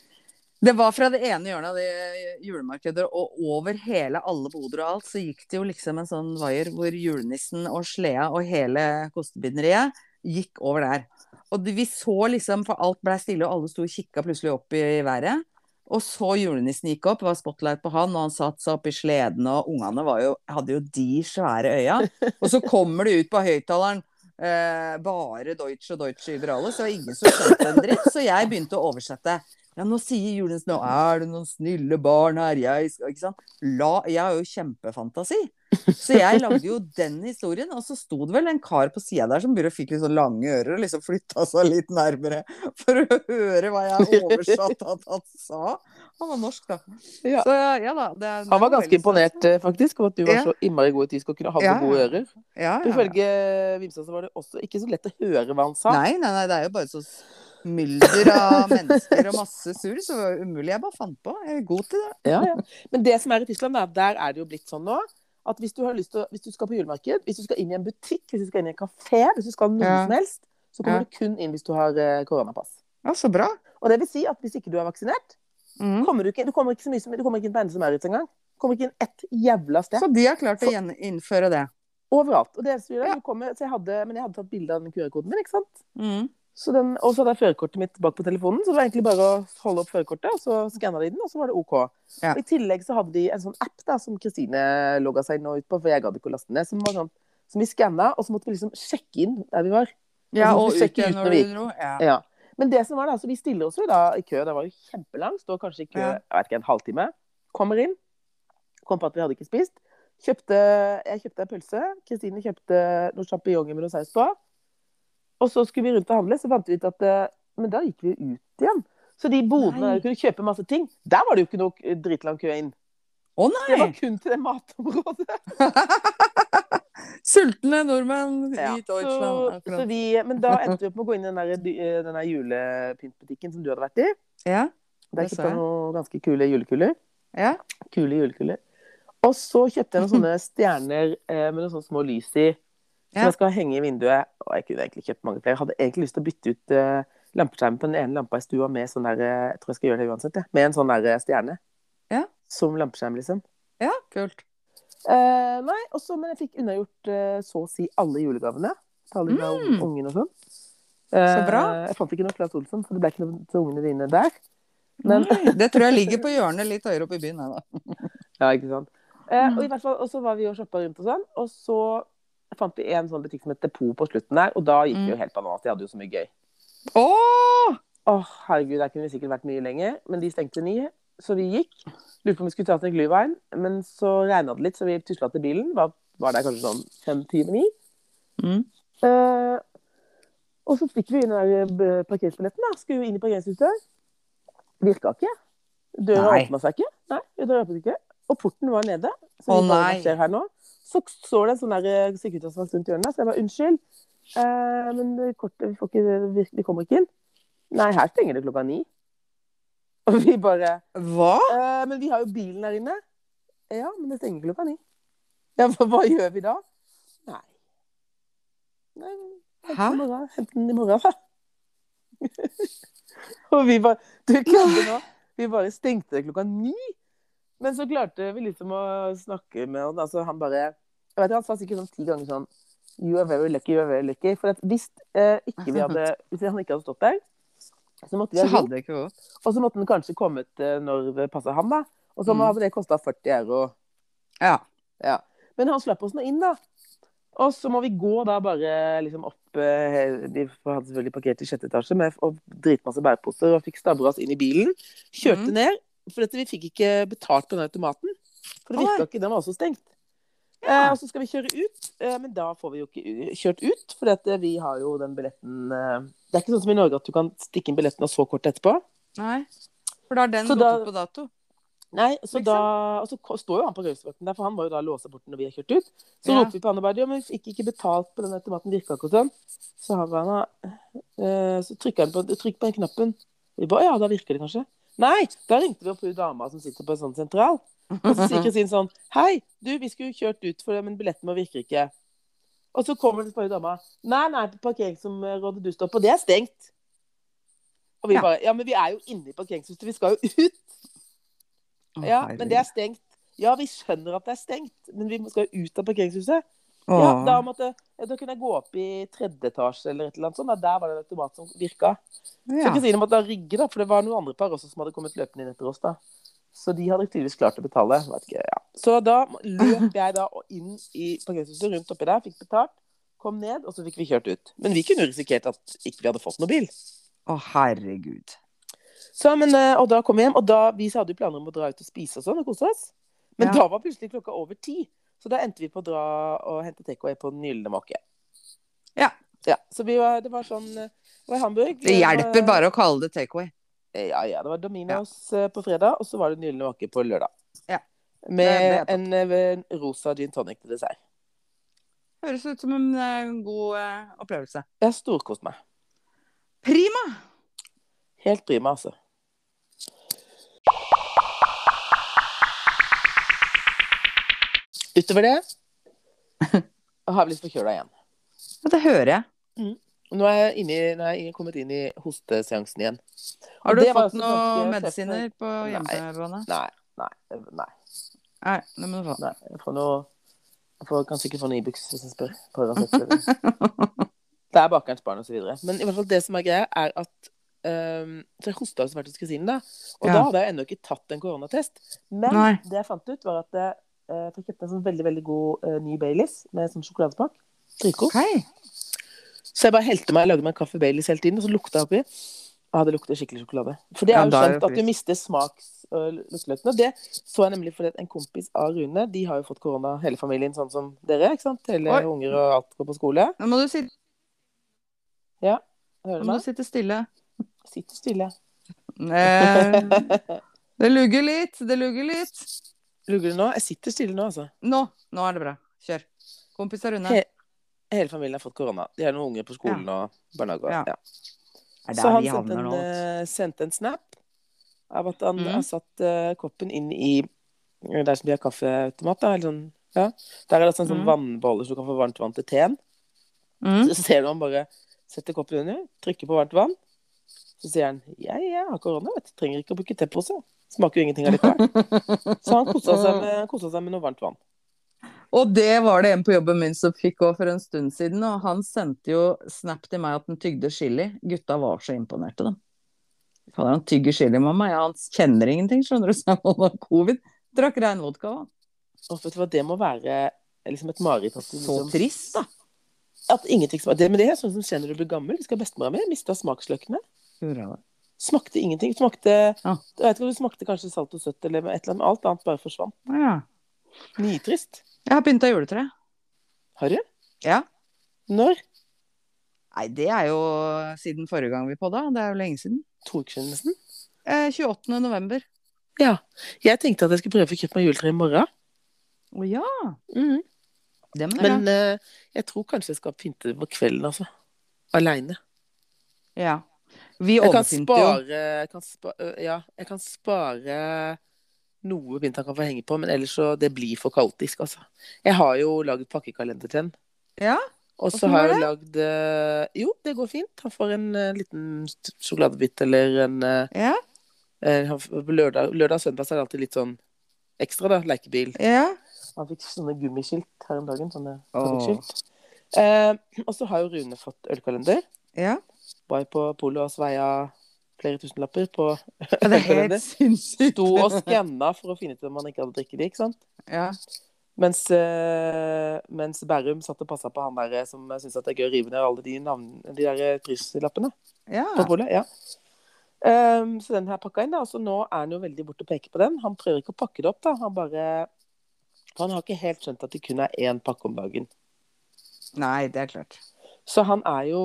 Speaker 1: Det var fra det ene hjørnet av det julemarkedet, og over hele alle boder og alt, så gikk det jo liksom en sånn vaier hvor julenissen og sleda og hele kostebinderiet gikk over der. Og det- vi så liksom, for alt blei stille, og alle sto og kikka plutselig opp i været. Og så julenissen gikk opp, det var spotlight på han, og han satte seg opp i sleden, og ungene var jo, hadde jo de svære øya. Og så kommer det ut på høyttaleren eh, bare Deutsche og Deutsche über alles, og ingen som skjønte en dritt, så jeg begynte å oversette. Ja, nå sier julenissen nå er det noen snille barn her, jeg skal Ikke sant. La, jeg har jo kjempefantasi. Så jeg lagde jo den historien, og så sto det vel en kar på sida der som bare fikk litt sånn lange ører og liksom flytta seg litt nærmere for å høre hva jeg oversatte at han sa. Han var norsk, da.
Speaker 2: Ja.
Speaker 1: Så ja da. Det er,
Speaker 2: Han var ganske imponert eh, faktisk over at du var
Speaker 1: Ja.
Speaker 2: så innmari god i tysk og kunne ha
Speaker 1: Ja,
Speaker 2: så gode
Speaker 1: ja.
Speaker 2: ører.
Speaker 1: Ja, ja, ja.
Speaker 2: Ifølge Vimsa så var det også ikke så lett å høre hva han sa.
Speaker 1: Nei, nei, nei, det er jo bare så mylder
Speaker 2: *laughs*
Speaker 1: av mennesker og masse surr, så det var jo umulig. Jeg bare fant på. Jeg er god til det.
Speaker 2: Ja, ja. Men det som er i Tyskland, er at der er det jo blitt sånn nå at hvis du, har lyst til, å- hvis du skal på julemarked, hvis du skal inn i en butikk, hvis du skal inn i en kafé, hvis du skal noe
Speaker 1: Ja.
Speaker 2: som helst, så
Speaker 1: Ja.
Speaker 2: kommer du kun inn hvis du har eh, koronapass.
Speaker 1: Ja, så bra.
Speaker 2: Og det vil si at hvis ikke du er vaksinert, kommer du ikke, du kommer ikke, så mye som, du kommer ikke inn på Hennes og Maurits engang. Du kommer ikke inn ett jævla sted.
Speaker 1: Så de har klart å gjen- innføre det.
Speaker 2: Overalt. Og det eneste vi gjør, er at du kommer, så jeg hadde, men jeg hadde tatt bilde av den QR-koden min, ikke sant? Så den, og så hadde jeg førerkortet mitt bak på telefonen, så det var egentlig bare å holde opp førerkortet, og så skanna de den, og så var det OK.
Speaker 1: Ja.
Speaker 2: Og I tillegg så hadde de en sånn app da, som Kristine logga seg inn og ut på, for jeg gadd ikke å laste den ned. Som, var sånn, som vi skanna, og så måtte vi liksom sjekke inn der vi var.
Speaker 1: Ja,
Speaker 2: Altså,
Speaker 1: og
Speaker 2: du
Speaker 1: ut
Speaker 2: sjekker
Speaker 1: igjen
Speaker 2: ut når
Speaker 1: når
Speaker 2: vi
Speaker 1: du
Speaker 2: gikk.
Speaker 1: dro. Ja.
Speaker 2: Ja. Men det som var da, så vi stiller oss jo da i kø, det var jo kjempelangt, står kanskje i kø
Speaker 1: Ja.
Speaker 2: jeg vet ikke, en halvtime. Kommer inn, kom på at vi hadde ikke spist. Kjøpte, jeg kjøpte en pølse, Kristine kjøpte noen champignoner med noe saus på. Og så skulle vi rundt og handle, så fant vi ut at eh, Men da gikk vi ut igjen. Så de bodene
Speaker 1: Nei.
Speaker 2: der du kunne kjøpe masse ting, der var det jo ikke noe eh, dritlang kø inn.
Speaker 1: Å
Speaker 2: Det
Speaker 1: nei!
Speaker 2: var kun til det matområdet.
Speaker 1: Sultne nordmenn
Speaker 2: Ja,
Speaker 1: i Deutschland.
Speaker 2: så, så
Speaker 1: akkurat.
Speaker 2: vi, men da endte vi opp med å gå inn i den der, dy- eh, den der julepyntbutikken som du hadde vært i.
Speaker 1: Ja,
Speaker 2: Der
Speaker 1: Det
Speaker 2: kjøpte
Speaker 1: så
Speaker 2: jeg noen ganske kule julekuler.
Speaker 1: ja.
Speaker 2: Kule julekuler. Og så
Speaker 1: *laughs*
Speaker 2: kjøpte jeg noen sånne stjerner eh, med noen sånne små lys i, som
Speaker 1: Ja.
Speaker 2: jeg skal henge i vinduet. Og jeg kunne egentlig kjøpt mange flere. Jeg hadde egentlig lyst til å bytte ut eh, lampeskjermen på den ene lampa i stua med sånn der eh, Jeg tror jeg skal gjøre det uansett, jeg. Med en sånn der eh, stjerne.
Speaker 1: Ja.
Speaker 2: Som lampeskjerm, liksom.
Speaker 1: ja kult.
Speaker 2: Eh, nei, og så- men jeg fikk unnagjort eh, så å si alle julegavene. Til alle fra
Speaker 1: Mm.
Speaker 2: ungen og sånn.
Speaker 1: Så bra.
Speaker 2: Eh, jeg fant ikke noe Claes Olsson, så det ble ikke noe til ungene dine der. Men
Speaker 1: Nei, det tror jeg ligger på hjørnet litt høyere oppe i byen. her, da.
Speaker 2: Ja, ikke sant. Eh,
Speaker 1: Mm.
Speaker 2: og i hvert fall, og så var vi og shoppa rundt og sånn, og så fant vi en sånn butikk som het Depot på slutten der, og da gikk
Speaker 1: Mm.
Speaker 2: vi jo helt bananas. De hadde jo så mye gøy.
Speaker 1: Åh!
Speaker 2: Å, herregud, der kunne vi sikkert vært mye lenger, men de stengte ni, så vi gikk. Lurte på om vi skulle ta oss en Glühwein, men så regna det litt, så vi tusla til bilen. Var, var der kanskje sånn fem-ti med ni.
Speaker 1: Mm.
Speaker 2: Eh, og så fikk vi inn den der eh, b- parkeringsbilletten, da. Skulle jo inn i parkeringshuset. Virka ikke. Døra
Speaker 1: Nei.
Speaker 2: åpna seg ikke. Nei, døra åpnet ikke. Og porten var nede. Så
Speaker 1: Å,
Speaker 2: vi bare,
Speaker 1: nei.
Speaker 2: hva skjer her nå? Så så det en sånn der, eh, Securitas-vakt rundt hjørnet, så jeg bare unnskyld, eh, men det kortet vi, får ikke, vi, vi kommer ikke inn. Nei, her stenger det klokka ni. Og vi bare
Speaker 1: Hva?
Speaker 2: Eh, men vi har jo bilen her inne. Ja, men det stenger klokka ni. Ja, hva, hva gjør vi da? Nei. Nei, hent
Speaker 1: Hæ?
Speaker 2: den i morgen. Hent den i morgen, da. *laughs* og vi bare Du klarte nå. Vi bare stengte det klokka ni. Men så klarte vi liksom å snakke med han. Altså, han bare jeg vet, ikke, Han sa sikkert sånn ti ganger sånn You are very lucky, you are very lucky. For at hvis, eh, ikke vi hadde, hvis han ikke hadde stått der, så måtte vi
Speaker 1: Så
Speaker 2: ha ringt.
Speaker 1: hadde det ikke gått.
Speaker 2: Og så måtte den kanskje kommet eh, når det passa ham, da. Og så
Speaker 1: Mm.
Speaker 2: hadde det kosta 40 euro.
Speaker 1: Ja.
Speaker 2: Ja. Men han slapp oss nå inn, da. Og så må vi gå da bare liksom opp eh, De hadde selvfølgelig parkert i sjette etasje med og dritmasse bæreposer og fikk stabra oss inn i bilen. Kjørte
Speaker 1: Mm.
Speaker 2: ned. For dette, vi fikk ikke betalt på den automaten. For det
Speaker 1: Å, nei.
Speaker 2: virka ikke. Den var også stengt.
Speaker 1: Ja.
Speaker 2: Eh, og så skal vi kjøre ut, eh, men da får vi jo ikke u- kjørt ut. For at eh, vi har jo den billetten eh, Det er ikke sånn som i Norge at du kan stikke inn billetten og så kort etterpå.
Speaker 1: Nei. For da har den
Speaker 2: Så
Speaker 1: gått
Speaker 2: da-
Speaker 1: ut på dato.
Speaker 2: Nei, så
Speaker 1: Liksom.
Speaker 2: da, og så ko- står jo han på røykvakten der, for han var jo da låst bort når vi har kjørt ut. Så
Speaker 1: Ja.
Speaker 2: ropte vi på han og bare, ja, men vi fikk ikke betalt på den automaten, virka ikke og sånn. Så han bare, eh, så trykket han på, trykk på den knappen. Vi bare, ja, da virker det kanskje. Nei, da ringte vi opp hun dama som sitter på en sånn sentral. *laughs* Og så
Speaker 1: Mhm.
Speaker 2: sier Kristin sånn Hei, du, vi skulle jo kjørt ut for det, men billetten vår virker ikke. Og så kommer det bare dama. Nei, nei, parkeringsområdet du står på, det er stengt. Og vi
Speaker 1: Ja.
Speaker 2: bare Ja, men vi er jo inne i parkeringshuset, vi skal jo ut.
Speaker 1: Å,
Speaker 2: Ja, men det er
Speaker 1: herregud.
Speaker 2: stengt. Ja, vi skjønner at det er stengt, men vi skal jo ut av parkeringshuset.
Speaker 1: Å.
Speaker 2: Ja, da, måtte, ja, da kunne jeg gå opp i tredje etasje eller et eller annet sånt. Da, der var det en automat som virka. Så
Speaker 1: Ja.
Speaker 2: Kristine måtte da rygge, da, for det var noen andre par også som hadde kommet løpende inn etter oss. da. Så de hadde tydeligvis klart å betale. Vet ikke, ja. Så da løp jeg da inn i parkeringshuset rundt oppi der, fikk betalt, kom ned, og så fikk vi kjørt ut. Men vi kunne jo risikert at ikke vi hadde fått noen bil.
Speaker 1: Å, herregud.
Speaker 2: Så, men, eh, og da kom vi hjem, og da, vi hadde jo planer om å dra ut og spise og sånn og kose oss. Men
Speaker 1: Ja.
Speaker 2: da var plutselig klokka over ti. Så da endte vi på å dra og hente takeaway på Den gylne måke.
Speaker 1: Ja.
Speaker 2: Ja, så vi var, det var sånn eh, Det var i Hamburg.
Speaker 1: Det hjelper
Speaker 2: var- Eh,
Speaker 1: bare å kalle det takeaway.
Speaker 2: Ja, ja. Det var Dominos eh, på fredag, og så var det Den gylne måke på lørdag.
Speaker 1: Ja. Det- det
Speaker 2: Med
Speaker 1: er
Speaker 2: en, eh, rosa gin tonic til dessert.
Speaker 1: Høres ut som en eh, god eh, opplevelse.
Speaker 2: Jeg storkoste meg.
Speaker 1: Prima!
Speaker 2: Helt prima, altså. Utover det har jeg blitt forkjøla igjen.
Speaker 1: Ja, Det hører jeg.
Speaker 2: Nå er jeg, inne, i- nå er jeg kommet inn i hosteseansen igjen.
Speaker 1: Har
Speaker 2: Og
Speaker 1: du
Speaker 2: det var
Speaker 1: fått
Speaker 2: også
Speaker 1: noen
Speaker 2: ganske tøft,
Speaker 1: medisiner på
Speaker 2: Nei.
Speaker 1: hjemmebane?
Speaker 2: Nei, nei, nei.
Speaker 1: Nei, det må du få. *laughs*
Speaker 2: nei. Jeg får noe Jeg får kanskje ikke få noe Ibux hvis jeg spør. Paracet eller- Det er bakerens barn osv. Men i hvert fall det som er greia, er at ehm, Så jeg hosta som vært hos kusinen, da. Og
Speaker 1: Ja.
Speaker 2: da hadde jeg ennå ikke tatt en koronatest. Men
Speaker 1: Nei.
Speaker 2: det jeg fant ut, var at jeg eh, fikk kjøpt en sånn veldig veldig god eh, ny Baileys med sånn sjokoladesmak. Dritgod.
Speaker 1: Hei.
Speaker 2: Så jeg bare helte meg og lagde meg en kaffe Baileys hele tiden, og så lukta jeg oppi. Ja, det lukter skikkelig sjokolade. For det
Speaker 1: Ja,
Speaker 2: er jo
Speaker 1: da er det
Speaker 2: kjent at
Speaker 1: frist.
Speaker 2: du mister smaks- og lukteløkene. Og det så jeg nemlig fordi at en kompis av Rune, de har jo fått korona, hele familien, sånn som dere. ikke sant? Hele
Speaker 1: Oi.
Speaker 2: unger og alt går på skole.
Speaker 1: Nå må du sitte,
Speaker 2: Hører
Speaker 1: nå må
Speaker 2: du meg?
Speaker 1: du sitte stille. Mm.
Speaker 2: Sitter stille.
Speaker 1: Eh, det lugger litt, det lugger litt.
Speaker 2: Lugger du nå? Jeg sitter stille nå, altså.
Speaker 1: Nå, nå er det bra. Kjør. Kompis av Rune.
Speaker 2: He- Hele familien har fått korona. De har noen unger på skolen og barnehage. og-
Speaker 1: Ja.
Speaker 2: Ja.
Speaker 1: Er
Speaker 2: Så
Speaker 1: der
Speaker 2: han
Speaker 1: vi
Speaker 2: sendte
Speaker 1: havner
Speaker 2: en,
Speaker 1: nå. altså. vet
Speaker 2: eh, sendte en snap av at han
Speaker 1: Mhm.
Speaker 2: har satt eh, koppen inn i eh, der som de har kaffeautomat. Da, eller sånn, ja. Der er det sånn, sånn
Speaker 1: Mhm.
Speaker 2: vannbeholder så du kan få varmt vann til teen.
Speaker 1: du. Mm.
Speaker 2: Så ser du han bare setter koppen under, trykker på varmt vann. Så sier han ja, jeg har korona, vet du. Trenger ikke å bruke tepose. Smaker jo ingenting allikevel. Så han kosa
Speaker 1: *laughs*
Speaker 2: seg, med- kosa seg med noe varmt vann.
Speaker 1: Og det var det en på jobben min som fikk òg for en stund siden. Og han sendte jo snap til meg at han tygde chili. Gutta var så imponerte, dem. Fader, han tygger chili, mamma. Ja, han kjenner ingenting, skjønner du. Så han har covid. Drakk rein vodka òg.
Speaker 2: Og vet du hva, det må være liksom et mareritt. at du
Speaker 1: Så
Speaker 2: liksom-
Speaker 1: trist, da.
Speaker 2: At ingenting smaker. Det, men det er sånn som skjer når du blir gammel. Husker jeg bestemora mi mista smaksløkene.
Speaker 1: Hurra.
Speaker 2: Smakte ingenting. Smakte,
Speaker 1: Ja.
Speaker 2: jeg vet ikke om det smakte kanskje salt og søtt eller et eller annet. Alt annet bare forsvant.
Speaker 1: Ja.
Speaker 2: Nitrist.
Speaker 1: Jeg har pynta juletre.
Speaker 2: Har du?
Speaker 1: Ja.
Speaker 2: Når?
Speaker 1: Nei, det er jo siden forrige gang vi podda. Det er jo lenge siden.
Speaker 2: To uker siden nesten.
Speaker 1: Eh, 28. november.
Speaker 2: Ja. Jeg tenkte at jeg skulle prøve å få kjøpt meg juletre i morgen.
Speaker 1: Å ja.
Speaker 2: Mm.
Speaker 1: Det må du
Speaker 2: Men eh, jeg tror kanskje jeg skal pynte det på kvelden, altså. Aleine.
Speaker 1: gjøre. Ja. Vi
Speaker 2: Jeg kan
Speaker 1: overpynter jo.
Speaker 2: spare jeg kan spa, øh, Ja, jeg kan spare noe vinteren kan få henge på, men ellers så det blir for kaotisk, altså. Jeg har jo lagd pakkekalender til den.
Speaker 1: Ja?
Speaker 2: Og så
Speaker 1: Hvordan
Speaker 2: har
Speaker 1: går
Speaker 2: jeg lagd øh, Jo, det går fint. Han får en øh, liten st- sjokoladebit eller en øh,
Speaker 1: Ja.
Speaker 2: eh, han f- lørdag, lørdag og søndag så er det alltid litt sånn ekstra, da. Lekebil.
Speaker 1: ja.
Speaker 2: Han fikk sånne gummiskilt her om dagen. Sånne
Speaker 1: Åh.
Speaker 2: trafikkskilt. Eh, og så har jo Rune fått ølkalender. *laughs*
Speaker 1: Ja.
Speaker 2: Var jo på polet og sveia flere tusenlapper på
Speaker 1: Det er helt sinnssykt.
Speaker 2: Sto og skanna for å finne ut om han ikke hadde drikke det, ikke sant?
Speaker 1: Ja.
Speaker 2: Mens, eh, mens Bærum satt og passa på han der eh, som syns at det er gøy å rive ned alle de, navn, de der eh, prislappene på
Speaker 1: Ja.
Speaker 2: polet. Ja. Ehm, så den her pakka inn, da. Så nå er han jo veldig borte å peke på den. Han prøver ikke å pakke det opp, da. Han bare for Han har ikke helt skjønt at det kun er én pakke om dagen.
Speaker 1: Nei, det er klart.
Speaker 2: Så han er jo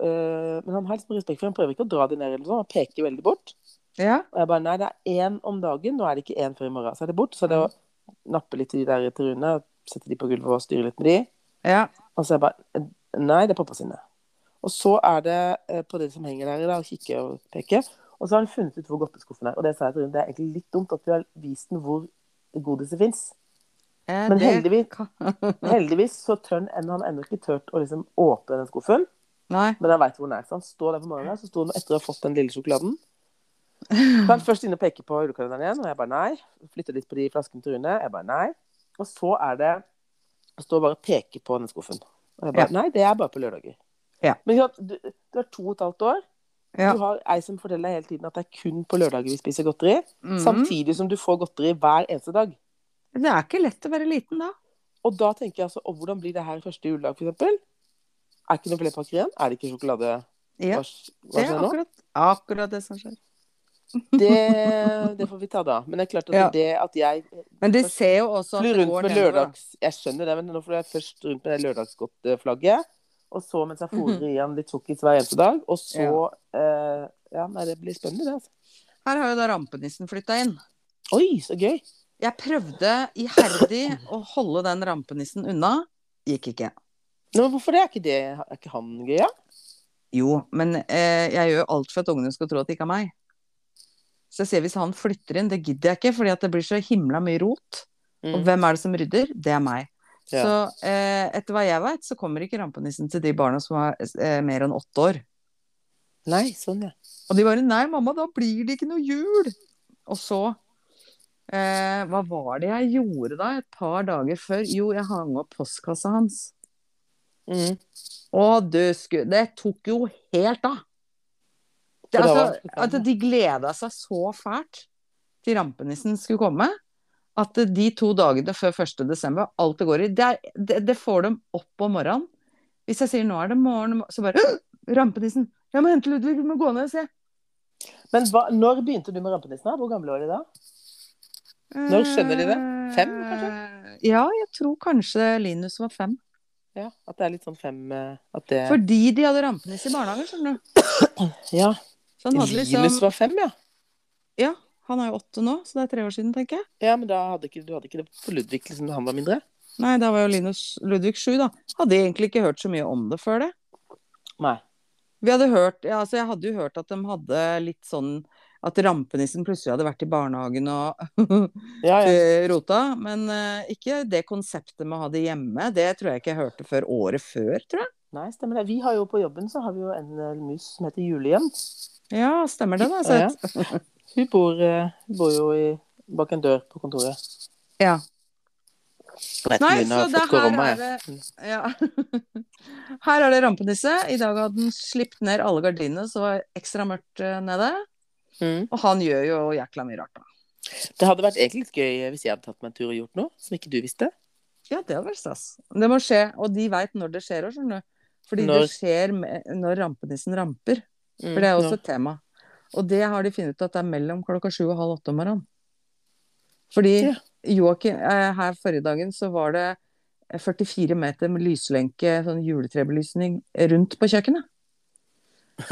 Speaker 2: øh, Men han har liksom respekt for Han prøver ikke å dra de ned, eller noe sånt. Han peker veldig bort.
Speaker 1: Ja.
Speaker 2: Og jeg bare Nei, det er én om dagen. Nå er det ikke én før i morgen. Så er det bort. Så er det å nappe litt i de der til Rune, sette de på gulvet og styre litt med de.
Speaker 1: Ja.
Speaker 2: Og så er jeg bare Nei, det er pappa sine. Og så er det eh, på det som henger der i dag, kikke og peke. Og så har han funnet ut hvor godteskuffen er. Og det sa jeg til Rune, det er egentlig litt dumt at vi har vist den hvor godiset fins.
Speaker 1: Eh,
Speaker 2: Men
Speaker 1: det-
Speaker 2: heldigvis, heldigvis så tør han ennå, han har ennå ikke tørt å liksom åpne den skuffen.
Speaker 1: Nei.
Speaker 2: Men han veit hvor den er. Så han står der på morgenen, så sto han etter å ha fått den lille
Speaker 1: *laughs*
Speaker 2: sjokoladen. Så er han først inne og peker på julekalenderen igjen, og jeg bare nei. Flytter litt på de flaskene til Rune, jeg bare nei. Og så er det Han står bare og peker på den skuffen. Og jeg bare nei, det er bare på lørdager.
Speaker 1: Ja.
Speaker 2: Men ikke sant, du, du har to og et halvt år.
Speaker 1: Ja.
Speaker 2: Du har ei som forteller deg hele tiden at det er kun på lørdager vi spiser godteri.
Speaker 1: Mhm.
Speaker 2: Samtidig som du får godteri hver eneste dag.
Speaker 1: Det er ikke lett å være liten da.
Speaker 2: Og da tenker jeg altså, og hvordan blir det her første juledag, for eksempel? Er ikke noe flerpakker igjen? Er det ikke sjokolade?
Speaker 1: Ja,
Speaker 2: Hva, hva
Speaker 1: det er
Speaker 2: skjer nå?
Speaker 1: akkurat, akkurat det som skjer.
Speaker 2: *laughs* Det, det får vi ta da. Men det er klart at
Speaker 1: Ja.
Speaker 2: det at jeg
Speaker 1: Men de ser jo også at
Speaker 2: flyr
Speaker 1: det
Speaker 2: rundt
Speaker 1: går
Speaker 2: med
Speaker 1: nedover. da.
Speaker 2: lørdags... Jeg skjønner det, men nå flyr jeg først rundt med det lørdagsgodtflagget. Og så mens jeg fôrer i han litt sukkis hver eneste dag. Og så ja. ja, nei, det blir spennende, det. altså.
Speaker 1: Her har jo da rampenissen flytta inn.
Speaker 2: Oi, så gøy.
Speaker 1: Jeg prøvde iherdig å holde den rampenissen unna. Gikk ikke.
Speaker 2: Nå, men hvorfor det? Er ikke, det, er ikke han gøy, ja?
Speaker 1: Jo, men eh, jeg gjør jo alt for at ungene skal tro at det ikke er meg. Så jeg ser hvis han flytter inn, det gidder jeg ikke, fordi at det blir så himla mye rot.
Speaker 2: Mm.
Speaker 1: Og hvem er det som rydder? Det er meg.
Speaker 2: Ja.
Speaker 1: Så eh, etter hva jeg vet, så kommer ikke rampenissen til de barna som er eh, mer enn åtte år.
Speaker 2: Nei, sånn, ja.
Speaker 1: Og de bare 'nei, mamma, da blir det ikke noe jul'. Og så eh, Hva var det jeg gjorde da, et par dager før? Jo, jeg hang opp postkassa hans.
Speaker 2: Mm.
Speaker 1: Å, du sku... Det tok jo helt av. Det,
Speaker 2: For det
Speaker 1: altså,
Speaker 2: var-
Speaker 1: at de gleda seg så fælt til rampenissen skulle komme, at de to dagene før 1. desember, alt det går i, det, er- det, det får dem opp om morgenen. Hvis jeg sier nå er det morgen, så bare *gasps* «Åh! Rampenissen! Jeg må hente Ludvig, vi må gå ned og se.
Speaker 2: Men hva, når begynte du med rampenissen? da? Hvor gamle var de da? Når skjønner de det? Fem,
Speaker 1: kanskje? Eh, Ja, jeg tror kanskje Linus var fem.
Speaker 2: Ja, At det er litt sånn fem eh, At det
Speaker 1: Fordi de hadde rampenisse i barnehagen, skjønner du.
Speaker 2: Ja.
Speaker 1: Så han, hadde
Speaker 2: Linus
Speaker 1: liksom,
Speaker 2: var fem, ja.
Speaker 1: ja, han er jo åtte nå, så det er tre år siden, tenker jeg.
Speaker 2: Ja, Men da hadde ikke, du hadde ikke det på Ludvig liksom, da han var mindre?
Speaker 1: Nei, da var jo Linus Ludvig sju, da. Hadde egentlig ikke hørt så mye om det før det.
Speaker 2: Nei.
Speaker 1: Vi hadde hørt, ja, altså Jeg hadde jo hørt at de hadde litt sånn At rampenissen plutselig hadde vært i barnehagen og *laughs*
Speaker 2: Ja, ja.
Speaker 1: eh, rota. Men eh, ikke det konseptet med å ha det hjemme. Det tror jeg ikke jeg hørte før året før, tror jeg.
Speaker 2: Nei, stemmer det. Vi har jo på jobben så har vi jo en eh, mus som heter Julien.
Speaker 1: Ja, stemmer det, da. Så,
Speaker 2: Ja. Hun bor, eh, hun bor jo i, bak en dør på kontoret.
Speaker 1: Ja.
Speaker 2: Jeg vet ikke om
Speaker 1: Nei,
Speaker 2: hun
Speaker 1: så det
Speaker 2: har fått
Speaker 1: her
Speaker 2: korona,
Speaker 1: er
Speaker 2: jeg.
Speaker 1: det ja. *laughs* Her er det rampenisse. I dag hadde han slipt ned alle gardinene, så det var ekstra mørkt eh, nede.
Speaker 2: Mm.
Speaker 1: Og han gjør jo jækla mye rart, da.
Speaker 2: Det hadde vært egentlig litt gøy eh, hvis jeg hadde tatt meg en tur og gjort noe som ikke du visste.
Speaker 1: Ja, det hadde vært stas. Det må skje, og de veit når det skjer òg, skjønner du. Fordi
Speaker 2: Når?
Speaker 1: det skjer med, når rampenissen ramper. Mm.
Speaker 2: Mm,
Speaker 1: For det er også et tema. Og det har de funnet ut at det er mellom klokka sju og halv åtte om morgenen. Fordi
Speaker 2: Ja.
Speaker 1: Joakim eh, Her forrige dagen så var det 44 meter med lyslenke, sånn juletrebelysning, rundt på
Speaker 2: *laughs*
Speaker 1: kjøkkenet.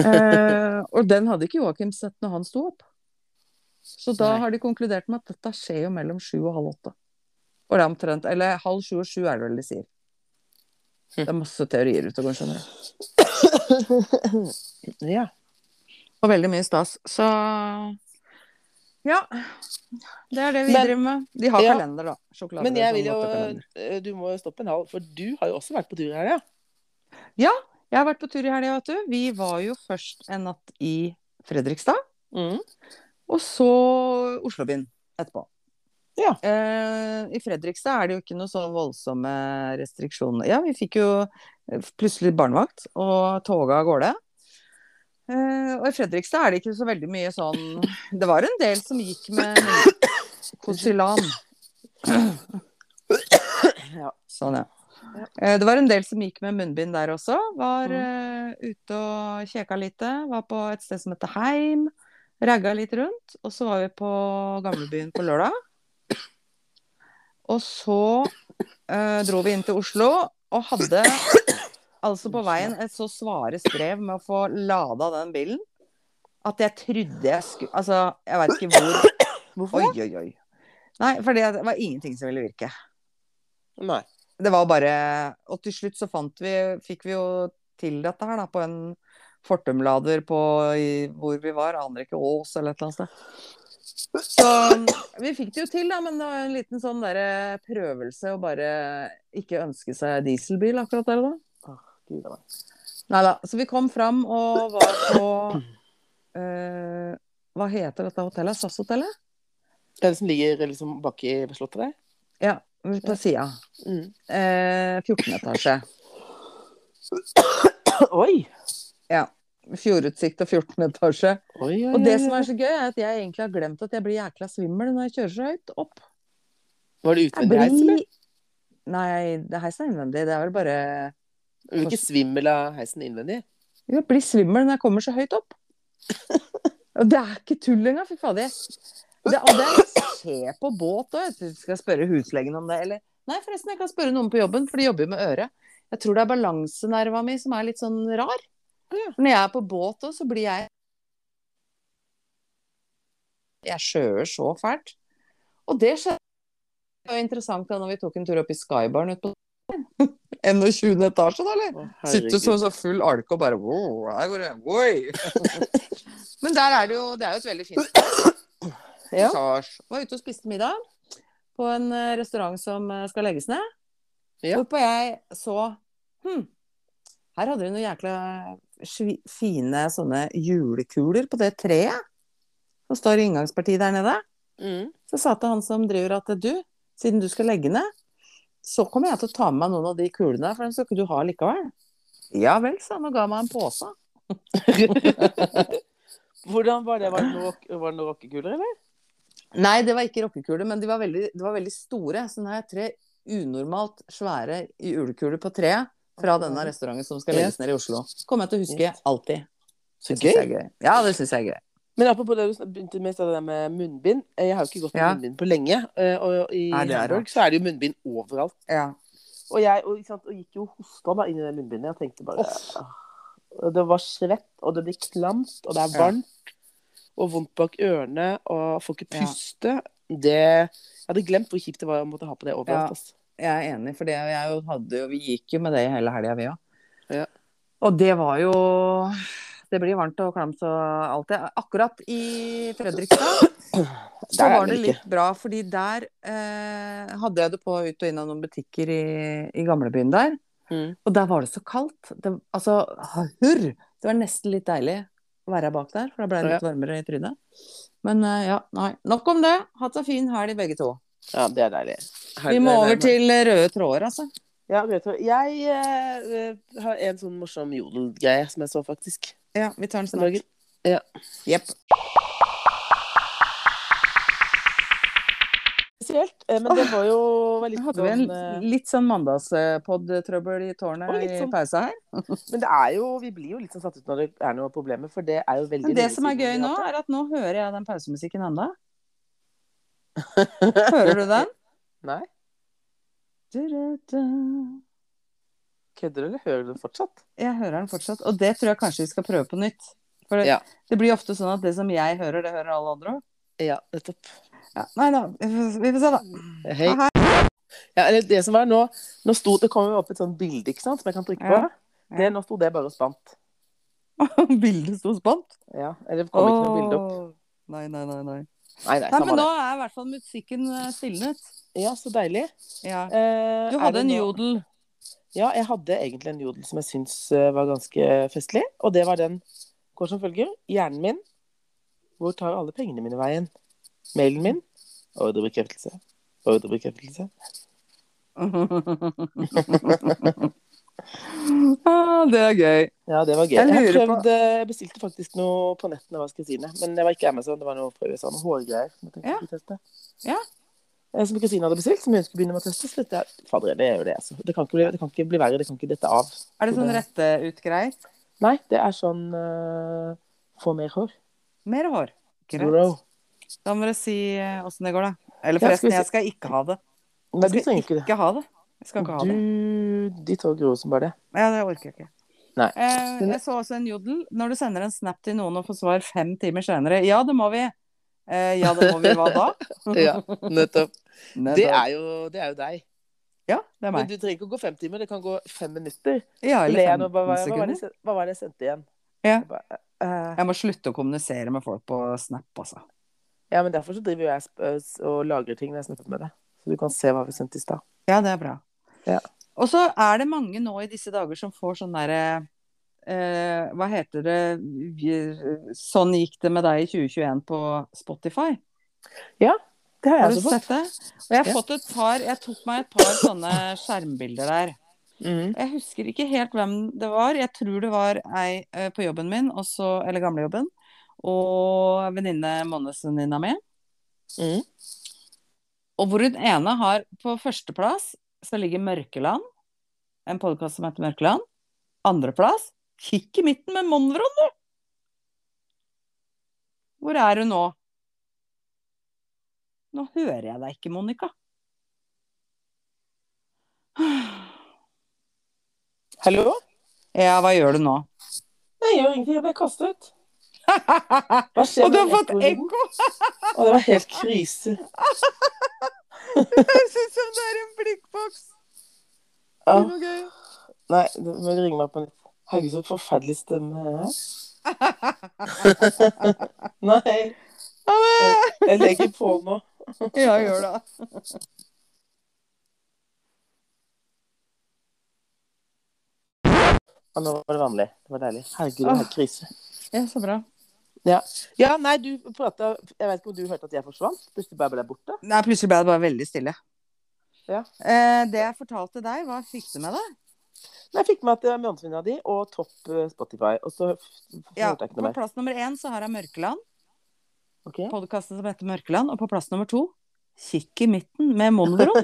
Speaker 1: Eh, og den hadde ikke Joakim sett når han sto opp. Så da
Speaker 2: Nei.
Speaker 1: har de konkludert med at dette skjer jo mellom sju og halv åtte. Og det er omtrent, eller halv sju og sju er det vel de sier.
Speaker 2: Hm.
Speaker 1: Det er masse teorier ute og går, skjønner du.
Speaker 2: Nå. Mm. Ja.
Speaker 1: Og veldig mye stas. Så ja. Det er det vi
Speaker 2: Men-
Speaker 1: driver med. De har
Speaker 2: Ja.
Speaker 1: kalender, da. Sjokolade.
Speaker 2: Men jeg
Speaker 1: sånn
Speaker 2: vil jo
Speaker 1: godtekalender.
Speaker 2: eh, Du må jo stoppe en halv, for du har jo også vært på tur her, ja.
Speaker 1: Jeg har vært på tur i helga, vet du. Vi var jo først en natt i Fredrikstad,
Speaker 2: Mm.
Speaker 1: og så Oslobyen etterpå.
Speaker 2: Ja.
Speaker 1: Eh, I Fredrikstad er det jo ikke noe sånn voldsomme restriksjoner. Ja, vi fikk jo eh, plutselig barnevakt og toga av gårde. Eh, og i Fredrikstad er det ikke så veldig mye sånn Det var en del som gikk
Speaker 2: *coughs*
Speaker 1: med Kosylan.
Speaker 2: Ja.
Speaker 1: Sånn, ja.
Speaker 2: Ja.
Speaker 1: Eh, Det var en del som gikk med munnbind der også. Var
Speaker 2: Mm.
Speaker 1: eh, ute og kjeka lite. Var på et sted som heter Heim. Ragga litt rundt. Og så var vi på Gamlebyen på lørdag. Og så eh, dro vi inn til Oslo og hadde altså på veien et så svare strev med å få lada den bilen at jeg trodde jeg skulle Altså, jeg veit ikke hvor
Speaker 2: Hvorfor?
Speaker 1: Oi, oi, oi. Nei, for det var ingenting som ville virke
Speaker 2: Nei.
Speaker 1: det var bare Og til slutt så fant vi Fikk vi jo til dette her, da, på en fortumlader på i, hvor vi var. Aner ikke Ås eller et eller annet sted. Så um, vi fikk det jo til, da, men det var en liten sånn derre prøvelse å bare ikke ønske seg dieselbil akkurat der og da.
Speaker 2: Åh, Gud, det var-
Speaker 1: Nei da. Så vi kom fram og var på eh, Hva heter dette hotellet? SAS-hotellet?
Speaker 2: Det er det som ligger liksom baki ved slottet der?
Speaker 1: Ja, på sida.
Speaker 2: Mm.
Speaker 1: Eh, 14. etasje.
Speaker 2: Oi!
Speaker 1: Fjordutsikt og 14. etasje.
Speaker 2: Oi, oi,
Speaker 1: Og det
Speaker 2: oi,
Speaker 1: som
Speaker 2: oi.
Speaker 1: er så gøy, er at jeg egentlig har glemt at jeg blir jækla svimmel når jeg kjører så høyt opp.
Speaker 2: Var det
Speaker 1: Jeg
Speaker 2: utvendig heis, eller?
Speaker 1: blir... Nei, det heisen er innvendig. Det er vel bare
Speaker 2: Du blir ikke svimmel av heisen innvendig?
Speaker 1: Jeg blir svimmel når jeg kommer så høyt opp. *laughs* Og det er ikke tull engang, fy fader. Det, og det skjer på båt òg. Jeg tror jeg skal spørre huslegen om det. Eller Nei, forresten, jeg kan spørre noen på jobben, for de jobber jo med øret. Jeg tror det er balansenerva mi som er litt sånn rar.
Speaker 2: Ja.
Speaker 1: Når jeg er på båt òg, så blir jeg Jeg skjøer så fælt. Og det skjedde Det var jo interessant da når vi tok en tur opp i Skybaren ute på *laughs* 21. etasje, da, eller?
Speaker 2: Å,
Speaker 1: Sitter
Speaker 2: sånn.
Speaker 1: som så full alke og bare wow, her går det, oi. *laughs* Men der er det jo Det er jo et veldig fint sted.
Speaker 2: Ja.
Speaker 1: Passasje. Var ute og spiste middag på en eh, restaurant som eh, skal legges ned.
Speaker 2: Ja.
Speaker 1: Hvorpå jeg så Hm, her hadde de noen jækla svi- fine sånne julekuler på det treet som står i inngangspartiet der nede.
Speaker 2: *laughs* Mm.
Speaker 1: Så jeg sa til han som driver at du, siden du skal legge ned, så kommer jeg til å ta med meg noen av de kulene, for dem skal ikke du ha likevel. Ja vel, sa han og ga meg en pose.
Speaker 2: Hvordan var det? Var det noen rock- var det noen rockekuler, eller?
Speaker 1: Nei, det var ikke rockekuler, men de var veldig, de var veldig store. Så nå har jeg tre unormalt svære julekuler på treet fra denne restauranten som skal legges ned i Oslo. Kommer jeg til å huske alltid.
Speaker 2: Så
Speaker 1: Det synes jeg er gøy. Ja, det syns jeg er gøy.
Speaker 2: Men apropos det du sn- begynte med, så det der med munnbind. Eh, Jeg har jo ikke gått med
Speaker 1: Ja.
Speaker 2: munnbind på lenge. eh, Og i
Speaker 1: Nei, det er
Speaker 2: Hamburg så er det jo munnbind overalt.
Speaker 1: Ja.
Speaker 2: Og jeg og, ikke sant, og gikk jo hosta da inn i det munnbindet. Jeg tenkte bare
Speaker 1: Uff.
Speaker 2: Og Det var svett, og det blir klamt, og det er
Speaker 1: Ja.
Speaker 2: varmt. Og vondt bak ørene, og får ikke
Speaker 1: Ja.
Speaker 2: puste. Det Jeg hadde glemt hvor kjipt det var å måtte ha på det
Speaker 1: Ja.
Speaker 2: overalt. ass.
Speaker 1: Jeg er enig, for det jeg jo hadde jo Vi gikk jo med det i hele helga, vi òg.
Speaker 2: Ja.
Speaker 1: Og det var jo Det blir varmt og klamt og alt det. Akkurat i Fredrikstad
Speaker 2: Der
Speaker 1: så
Speaker 2: er
Speaker 1: var
Speaker 2: det
Speaker 1: det
Speaker 2: vel ikke.
Speaker 1: litt bra, fordi der eh, hadde jeg det på ut og inn av noen butikker i, i gamlebyen der.
Speaker 2: Mm.
Speaker 1: Og der var det så kaldt. Det, altså, hurr! Det var nesten litt deilig å være bak der, for da ble det litt varmere i trynet. Men eh, ja, nei. Nok om det. Hatt en fin helg, begge to.
Speaker 2: Ja, det er deilig.
Speaker 1: Vi må over til eh, røde tråder, altså.
Speaker 2: Ja, greit. Jeg eh, eh, har en sånn morsom jodelgreie som jeg så, faktisk.
Speaker 1: Ja, vi tar den
Speaker 2: Den dagen.
Speaker 1: snart. Jepp.
Speaker 2: spesielt. eh, Men det var jo var litt
Speaker 1: Hadde vi en
Speaker 2: sånn, eh,
Speaker 1: litt sånn mandagspod-trøbbel i tårnet
Speaker 2: Og litt sånn-
Speaker 1: i pausa her?
Speaker 2: Men det er jo, vi blir jo litt sånn satt ut når det er noe problemer, for det er jo veldig
Speaker 1: Men det
Speaker 2: lenge
Speaker 1: som er
Speaker 2: siden
Speaker 1: gøy
Speaker 2: vi
Speaker 1: nå,
Speaker 2: hadde.
Speaker 1: er at nå hører jeg den pausemusikken ennå. Hører du
Speaker 2: *laughs*
Speaker 1: den?
Speaker 2: Nei.
Speaker 1: Du-du-du.
Speaker 2: Kødder du, eller hører du det fortsatt?
Speaker 1: Jeg hører den fortsatt, og det tror jeg kanskje vi skal prøve på nytt. For det,
Speaker 2: Ja.
Speaker 1: det blir ofte sånn at det som jeg hører, det hører alle andre òg.
Speaker 2: Ja, nettopp.
Speaker 1: Ja, nei da, vi får- vi får se, da. *laughs*
Speaker 2: Eh, Hei.
Speaker 1: Hei.
Speaker 2: Ja, eller det som var nå, nå sto, det kom jo opp et sånt bilde, ikke sant, som jeg kan trykke på.
Speaker 1: Ja. Ja.
Speaker 2: Det, nå sto det bare og spant.
Speaker 1: Bildet sto spant.
Speaker 2: Ja, eller det kom ikke noe bilde opp.
Speaker 1: Åh. Nei, nei, nei. nei.
Speaker 2: Nei, nei,
Speaker 1: nei
Speaker 2: samme
Speaker 1: men nå
Speaker 2: det.
Speaker 1: er i hvert fall musikken eh, stilnet.
Speaker 2: Ja, så deilig.
Speaker 1: Ja.
Speaker 2: Eh,
Speaker 1: Du
Speaker 2: er
Speaker 1: hadde
Speaker 2: det
Speaker 1: en
Speaker 2: nå-
Speaker 1: jodel.
Speaker 2: Ja, jeg hadde egentlig en jodel som jeg syns eh, var ganske festlig. Og det var den går som følger. Hjernen min. Hvor tar alle pengene mine veien? Mailen min. Ordrebekreftelse. Ordrebekreftelse.
Speaker 1: *laughs* ah, det er gøy.
Speaker 2: Ja, det var gøy.
Speaker 1: Jeg
Speaker 2: Jeg, har
Speaker 1: lurer på-
Speaker 2: prøvd, eh, jeg bestilte faktisk noe på nettene, hva skal jeg si det. Men det var ikke Amazon, det var noe fra USA. Noen hårgreier. som jeg tenkte
Speaker 1: Ja.
Speaker 2: jeg skulle teste.
Speaker 1: Ja.
Speaker 2: Eh, Som Kristine hadde bestilt, som hun skulle begynne med å teste. Så dette er Fader, det er jo det, altså. Det kan ikke bli, det kan ikke bli verre. Det kan ikke dette av.
Speaker 1: Er det sånn rette ut greier?
Speaker 2: Nei, det er sånn eh, Få mer hår.
Speaker 1: Mer hår.
Speaker 2: Grow.
Speaker 1: Greit. Da må dere si eh, åssen det går, da. Eller
Speaker 2: Ja, skal
Speaker 1: forresten,
Speaker 2: vi
Speaker 1: jeg skal ikke ha det.
Speaker 2: Nei, du
Speaker 1: Jeg skal
Speaker 2: trenger ikke det.
Speaker 1: Ikke ha det. Jeg skal ikke ha det.
Speaker 2: Du, de tar grå som bare det.
Speaker 1: Ja, det orker jeg ikke.
Speaker 2: Nei.
Speaker 1: Eh, jeg så også en jodel. Når du sender en snap til noen og får svar fem timer senere Ja, det må vi. Eh, ja, det må vi. Hva
Speaker 2: *laughs*
Speaker 1: da?
Speaker 2: *laughs* Ja, nettopp.
Speaker 1: Nei,
Speaker 2: Det
Speaker 1: da-
Speaker 2: er jo, det er jo deg.
Speaker 1: Ja, det er meg.
Speaker 2: Men du trenger ikke å gå fem timer, det kan gå fem minutter.
Speaker 1: Ja,
Speaker 2: Eller jeg,
Speaker 1: eller
Speaker 2: nå, hva, hva,
Speaker 1: 15
Speaker 2: hva, var
Speaker 1: sekunder.
Speaker 2: det, jeg sen- hva var det jeg sendte igjen?
Speaker 1: Ja.
Speaker 2: Jeg bare, eh,
Speaker 1: Jeg må slutte å kommunisere med folk på snap, altså.
Speaker 2: ja, men derfor så driver jo jeg sp- eh, s- og lagrer ting når jeg snakker med deg. Så du kan se hva vi sendte i stad.
Speaker 1: Ja, det er bra.
Speaker 2: Ja.
Speaker 1: Og så er det mange nå i disse dager som får sånn derre eh, Hva heter det vi- Sånn gikk det med deg i 2021 på Spotify.
Speaker 2: Det har
Speaker 1: Har
Speaker 2: jeg
Speaker 1: du
Speaker 2: også fått.
Speaker 1: sett det? Og jeg har
Speaker 2: Ja.
Speaker 1: fått et par Jeg tok meg et par sånne skjermbilder der. Jeg husker ikke helt hvem det var. Jeg tror det var ei eh, på jobben min, også, eller gamlejobben, og venninne Månesvenninna mi. mm.
Speaker 2: Mhm.
Speaker 1: Og hvor hun ene har på førsteplass så ligger Mørkeland. En podkast som heter Mørkeland. Andreplass Kikk i midten med Monvron, du! Hvor er hun nå? Nå hører jeg deg ikke, Monica.
Speaker 2: Hallo?
Speaker 1: Ja, hva gjør du nå?
Speaker 2: Nei, jeg gjør ingenting. Jeg ble kastet.
Speaker 1: *laughs* og
Speaker 2: Hva skjer
Speaker 1: du har
Speaker 2: med
Speaker 1: fått
Speaker 2: ekkolyden?
Speaker 1: *laughs* ekko!
Speaker 2: Å, det var helt krise.
Speaker 1: Det høres ut som det er en blikkboks!
Speaker 2: Ja.
Speaker 1: Det var gøy.
Speaker 2: Nei, du må ringe meg på nytt. Herregud, så forferdelig stemme jeg
Speaker 1: *laughs*
Speaker 2: har. Nei. Jeg, jeg legger på nå.
Speaker 1: Ja, gjør det.
Speaker 2: Ja, nå var det vanlig. Det var deilig. Herregud, det var helt krise.
Speaker 1: Ja, så bra.
Speaker 2: Ja, nei, du prata Jeg vet ikke om du hørte at jeg forsvant? Plutselig bare ble jeg borte?
Speaker 1: Nei, plutselig ble det bare veldig stille.
Speaker 2: Ja.
Speaker 1: Eh, det jeg fortalte deg, hva fikk du med deg?
Speaker 2: Men jeg fikk med at det var Månedsvinda di og topp eh, Spotify. Og så f- f-
Speaker 1: Ja,
Speaker 2: hørte jeg ikke
Speaker 1: på
Speaker 2: noe mer.
Speaker 1: plass nummer én så har jeg Mørkeland.
Speaker 2: Ok.
Speaker 1: Podkasten som heter Mørkeland. Og på plass nummer to Kikk i midten med Monodrom.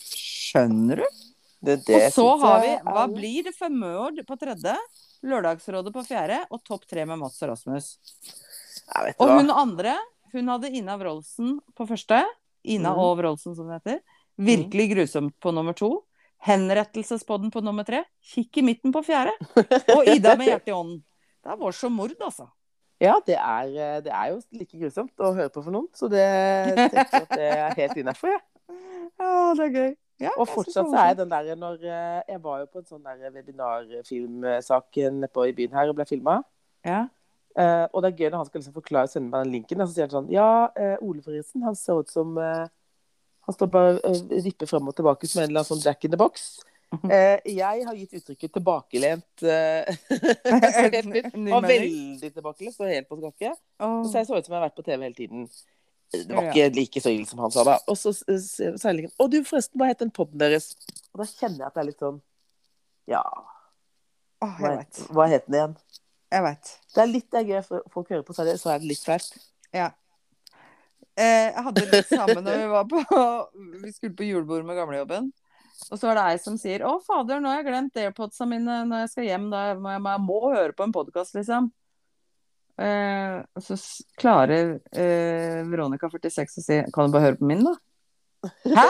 Speaker 1: Skjønner du?
Speaker 2: Det,
Speaker 1: Og
Speaker 2: det
Speaker 1: så
Speaker 2: synes
Speaker 1: har vi
Speaker 2: jeg
Speaker 1: Hva
Speaker 2: er-
Speaker 1: blir det for Mørd på tredje? Lørdagsrådet på fjerde og Topp tre med Mats og Rasmus.
Speaker 2: Nei, vet du
Speaker 1: Og
Speaker 2: hva.
Speaker 1: hun andre, hun hadde Ina Wroldsen på første. Ina
Speaker 2: Mhm.
Speaker 1: og Wroldsen, som det heter. Virkelig
Speaker 2: Mm.
Speaker 1: grusomt på nummer to. Henrettelsespodden på nummer tre. Kikk i midten på
Speaker 2: *laughs*
Speaker 1: fjerde. Og Ida med hjertet i ånden. Det var så mord, altså.
Speaker 2: Ja, det er, eh, det er jo like grusomt å høre på for noen, så det tenker jeg at det er helt innafor, *laughs* jeg.
Speaker 1: Ja, det er gøy.
Speaker 2: Og fortsatt så er den der når eh, Jeg var jo på en sånn der webinarfilmsak nedpå i byen her og ble filma.
Speaker 1: ja.
Speaker 2: Eh, og det er gøy når han skal liksom forklare og sende meg den linken. Og så sier han sånn Ja, eh, Ole Fridsen, han ser ut som eh, Han står bare og eh, vipper fram og tilbake som en eller annen sånn Jack in the box. Eh, jeg har gitt uttrykket tilbakelent. eh, *laughs* helt nytt,
Speaker 1: Ny
Speaker 2: og
Speaker 1: mening.
Speaker 2: veldig tilbakelent. Står helt på skakke.
Speaker 1: Åh.
Speaker 2: Så jeg så ut som jeg har vært på TV hele tiden. Eh, Det var
Speaker 1: Mhm. Ja.
Speaker 2: ikke like så ille som han sa da. Og så s- s- sier linken Å, du, forresten, hva het den poden deres? Og da kjenner jeg at det er litt sånn Ja,
Speaker 1: Åh,
Speaker 2: hva,
Speaker 1: jeg vet.
Speaker 2: hva het den igjen?
Speaker 1: Jeg vet.
Speaker 2: Det er litt det er gøy for folk hører på, så er det, så er det litt fælt.
Speaker 1: Eh, Jeg hadde litt sammen når vi var på *laughs* Vi skulle på julebord med gamlejobben. Og så var det ei som sier 'Å, fader, nå har jeg glemt airpodsa mine når jeg skal hjem. Da må jeg, jeg må høre på en podkast', liksom. Eh, og så s- klarer eh, Veronica 46 å si 'Kan du bare høre på min, da?' Hæ?!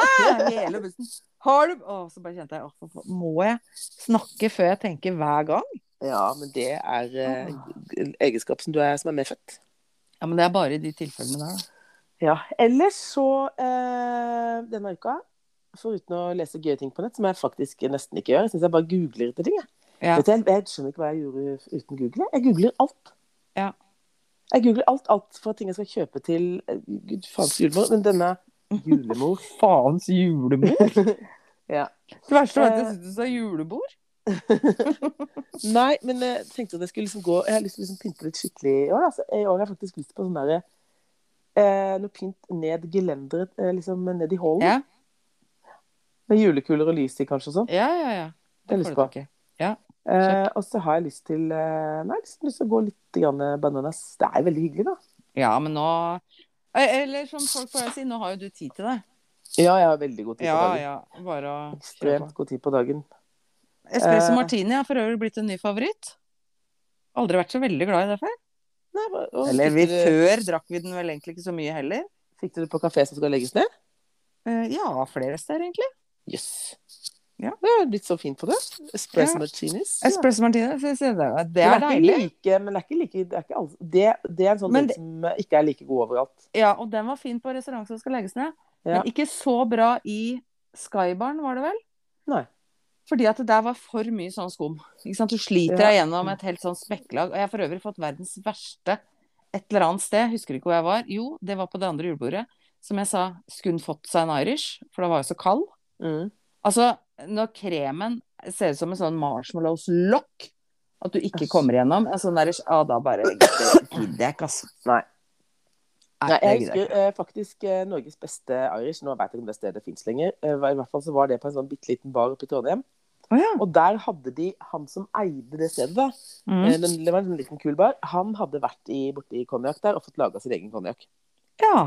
Speaker 1: Hele bussen. Har du Å, så bare kjente jeg «Å, for fa- Må jeg snakke før jeg tenker hver gang?
Speaker 2: Ja, men det er eh, en egenskap som du er, som er medfødt.
Speaker 1: Ja, men det er bare i de tilfellene der, da.
Speaker 2: Ja. Ellers så eh, denne uka, foruten å lese gøye ting på nett, som jeg faktisk nesten ikke gjør, jeg syns jeg bare googler etter ting. Jeg.
Speaker 1: Ja.
Speaker 2: Vet du, jeg, jeg skjønner ikke hva jeg gjorde uten Google. Jeg googler alt.
Speaker 1: Ja.
Speaker 2: Jeg googler alt, alt fra ting jeg skal kjøpe til eh, Gud faens julemor. Men denne *laughs* julemor
Speaker 1: Faens julebord? *laughs*
Speaker 2: Ja.
Speaker 1: Det verste var at jeg syntes du sa julebord.
Speaker 2: Nei, men jeg tenkte at jeg skulle liksom gå Jeg har lyst til å liksom pynte litt skikkelig i år. da. Så I år har jeg faktisk lyst på sånn derre eh, Noe pynt ned gelenderet, eh, liksom ned i hallen.
Speaker 1: Ja,
Speaker 2: Med julekuler og lys i, kanskje, og sånn.
Speaker 1: ja, ja. ja.
Speaker 2: Det har jeg lyst på.
Speaker 1: ikke.
Speaker 2: Eh, og så har jeg lyst til eh, Nei, liksom lyst til å gå litt grann bananas. Det er veldig hyggelig, da.
Speaker 1: Ja, men nå Eh, Eller som folk pleier å si, nå har jo du tid til det.
Speaker 2: Ja, jeg har veldig god tid på
Speaker 1: Ja,
Speaker 2: dagen.
Speaker 1: ja. Bare å kjøre på.
Speaker 2: Ekstremt god tid på dagen.
Speaker 1: Espresso
Speaker 2: Eh.
Speaker 1: martini har for øvrig blitt en ny favoritt. Aldri vært så veldig glad i det før.
Speaker 2: Nei, hva- og,
Speaker 1: Eller vi,
Speaker 2: fikk, du,
Speaker 1: før drakk vi den vel egentlig ikke så mye heller.
Speaker 2: fikk du det på kafé som skal legges ned?
Speaker 1: Eh, ja, flere steder, egentlig.
Speaker 2: Jøss.
Speaker 1: Ja.
Speaker 2: Det er blitt så fint på det. Espresso
Speaker 1: Ja.
Speaker 2: martinis. Ja.
Speaker 1: Espresso martini, så jeg sier det det
Speaker 2: Men
Speaker 1: er deilig.
Speaker 2: Ikke like, men det er ikke like Det er, ikke alt, det, det er en sånn
Speaker 1: Men
Speaker 2: ting som ikke er like god overalt.
Speaker 1: Ja, og den var fin på restaurant som skal legges ned.
Speaker 2: Ja.
Speaker 1: Men ikke så bra i Skybaren, var det vel?
Speaker 2: Nei.
Speaker 1: Fordi at det der var for mye sånn skum. Ikke sant? Du sliter
Speaker 2: Ja.
Speaker 1: deg gjennom et helt sånn smekklag. Og jeg har for øvrig fått verdens verste et eller annet sted. Husker ikke hvor jeg var. Jo, det var på det andre julebordet. Som jeg sa, skulle hun fått seg en Irish? For det var jo så kald. Altså, når kremen ser ut som en sånn marshmallows-lokk, at du ikke
Speaker 2: Æsj.
Speaker 1: kommer gjennom, en sånn Irish, ja, da
Speaker 2: *coughs*
Speaker 1: bare gidder gidder jeg ikke, altså.
Speaker 2: Nei.
Speaker 1: Nei,
Speaker 2: Nei,
Speaker 1: det
Speaker 2: jeg
Speaker 1: gidder
Speaker 2: husker eh, faktisk eh, Norges beste Irish. Nå vet jeg ikke om det stedet fins lenger. Eh, var- I hvert fall så var det på en sånn bitte liten bar oppe i Trondheim.
Speaker 1: Å ja.
Speaker 2: Og der hadde de han som eide det stedet, da.
Speaker 1: Mm.
Speaker 2: Eh, den, det var en liten kul bar. Han hadde vært i, borti konjakk der og fått laga sin egen konjakk.
Speaker 1: Ja.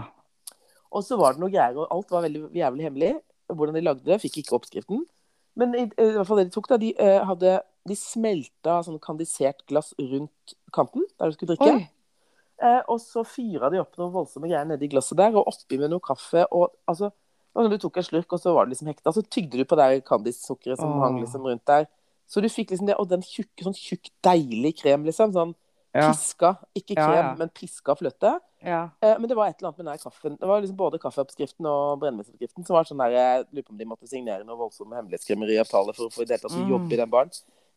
Speaker 2: Og så var det noe greier, og alt var veldig jævlig hemmelig. Hvordan de lagde det, fikk ikke oppskriften. Men i, i hvert fall det de tok, da, de, eh, hadde, de smelta sånn kandisert glass rundt kanten der du skulle drikke.
Speaker 1: Oi.
Speaker 2: Eh, og så fyra de opp noen voldsomme greier nedi glasset der, og oppi med noe kaffe. Og altså, og når du tok en slurk, og så var det liksom hekta, så tygde du på det der kandissukkeret som
Speaker 1: Åh.
Speaker 2: hang liksom rundt der. Så du fikk liksom det, og den tjukke, sånn tjukk, deilig krem, liksom. Sånn
Speaker 1: Ja.
Speaker 2: piska, ikke
Speaker 1: Ja,
Speaker 2: krem,
Speaker 1: ja.
Speaker 2: men piska fløte.
Speaker 1: ja.
Speaker 2: Eh, Men det var et eller annet med den her kaffen. Det var liksom både kaffeoppskriften og brennevinsoppskriften som var sånn der Jeg lurer på om de måtte signere noe voldsomme hemmelighetskremmeriavtaler for å få i det hele tatt å
Speaker 1: Mm.
Speaker 2: jobbe i den baren.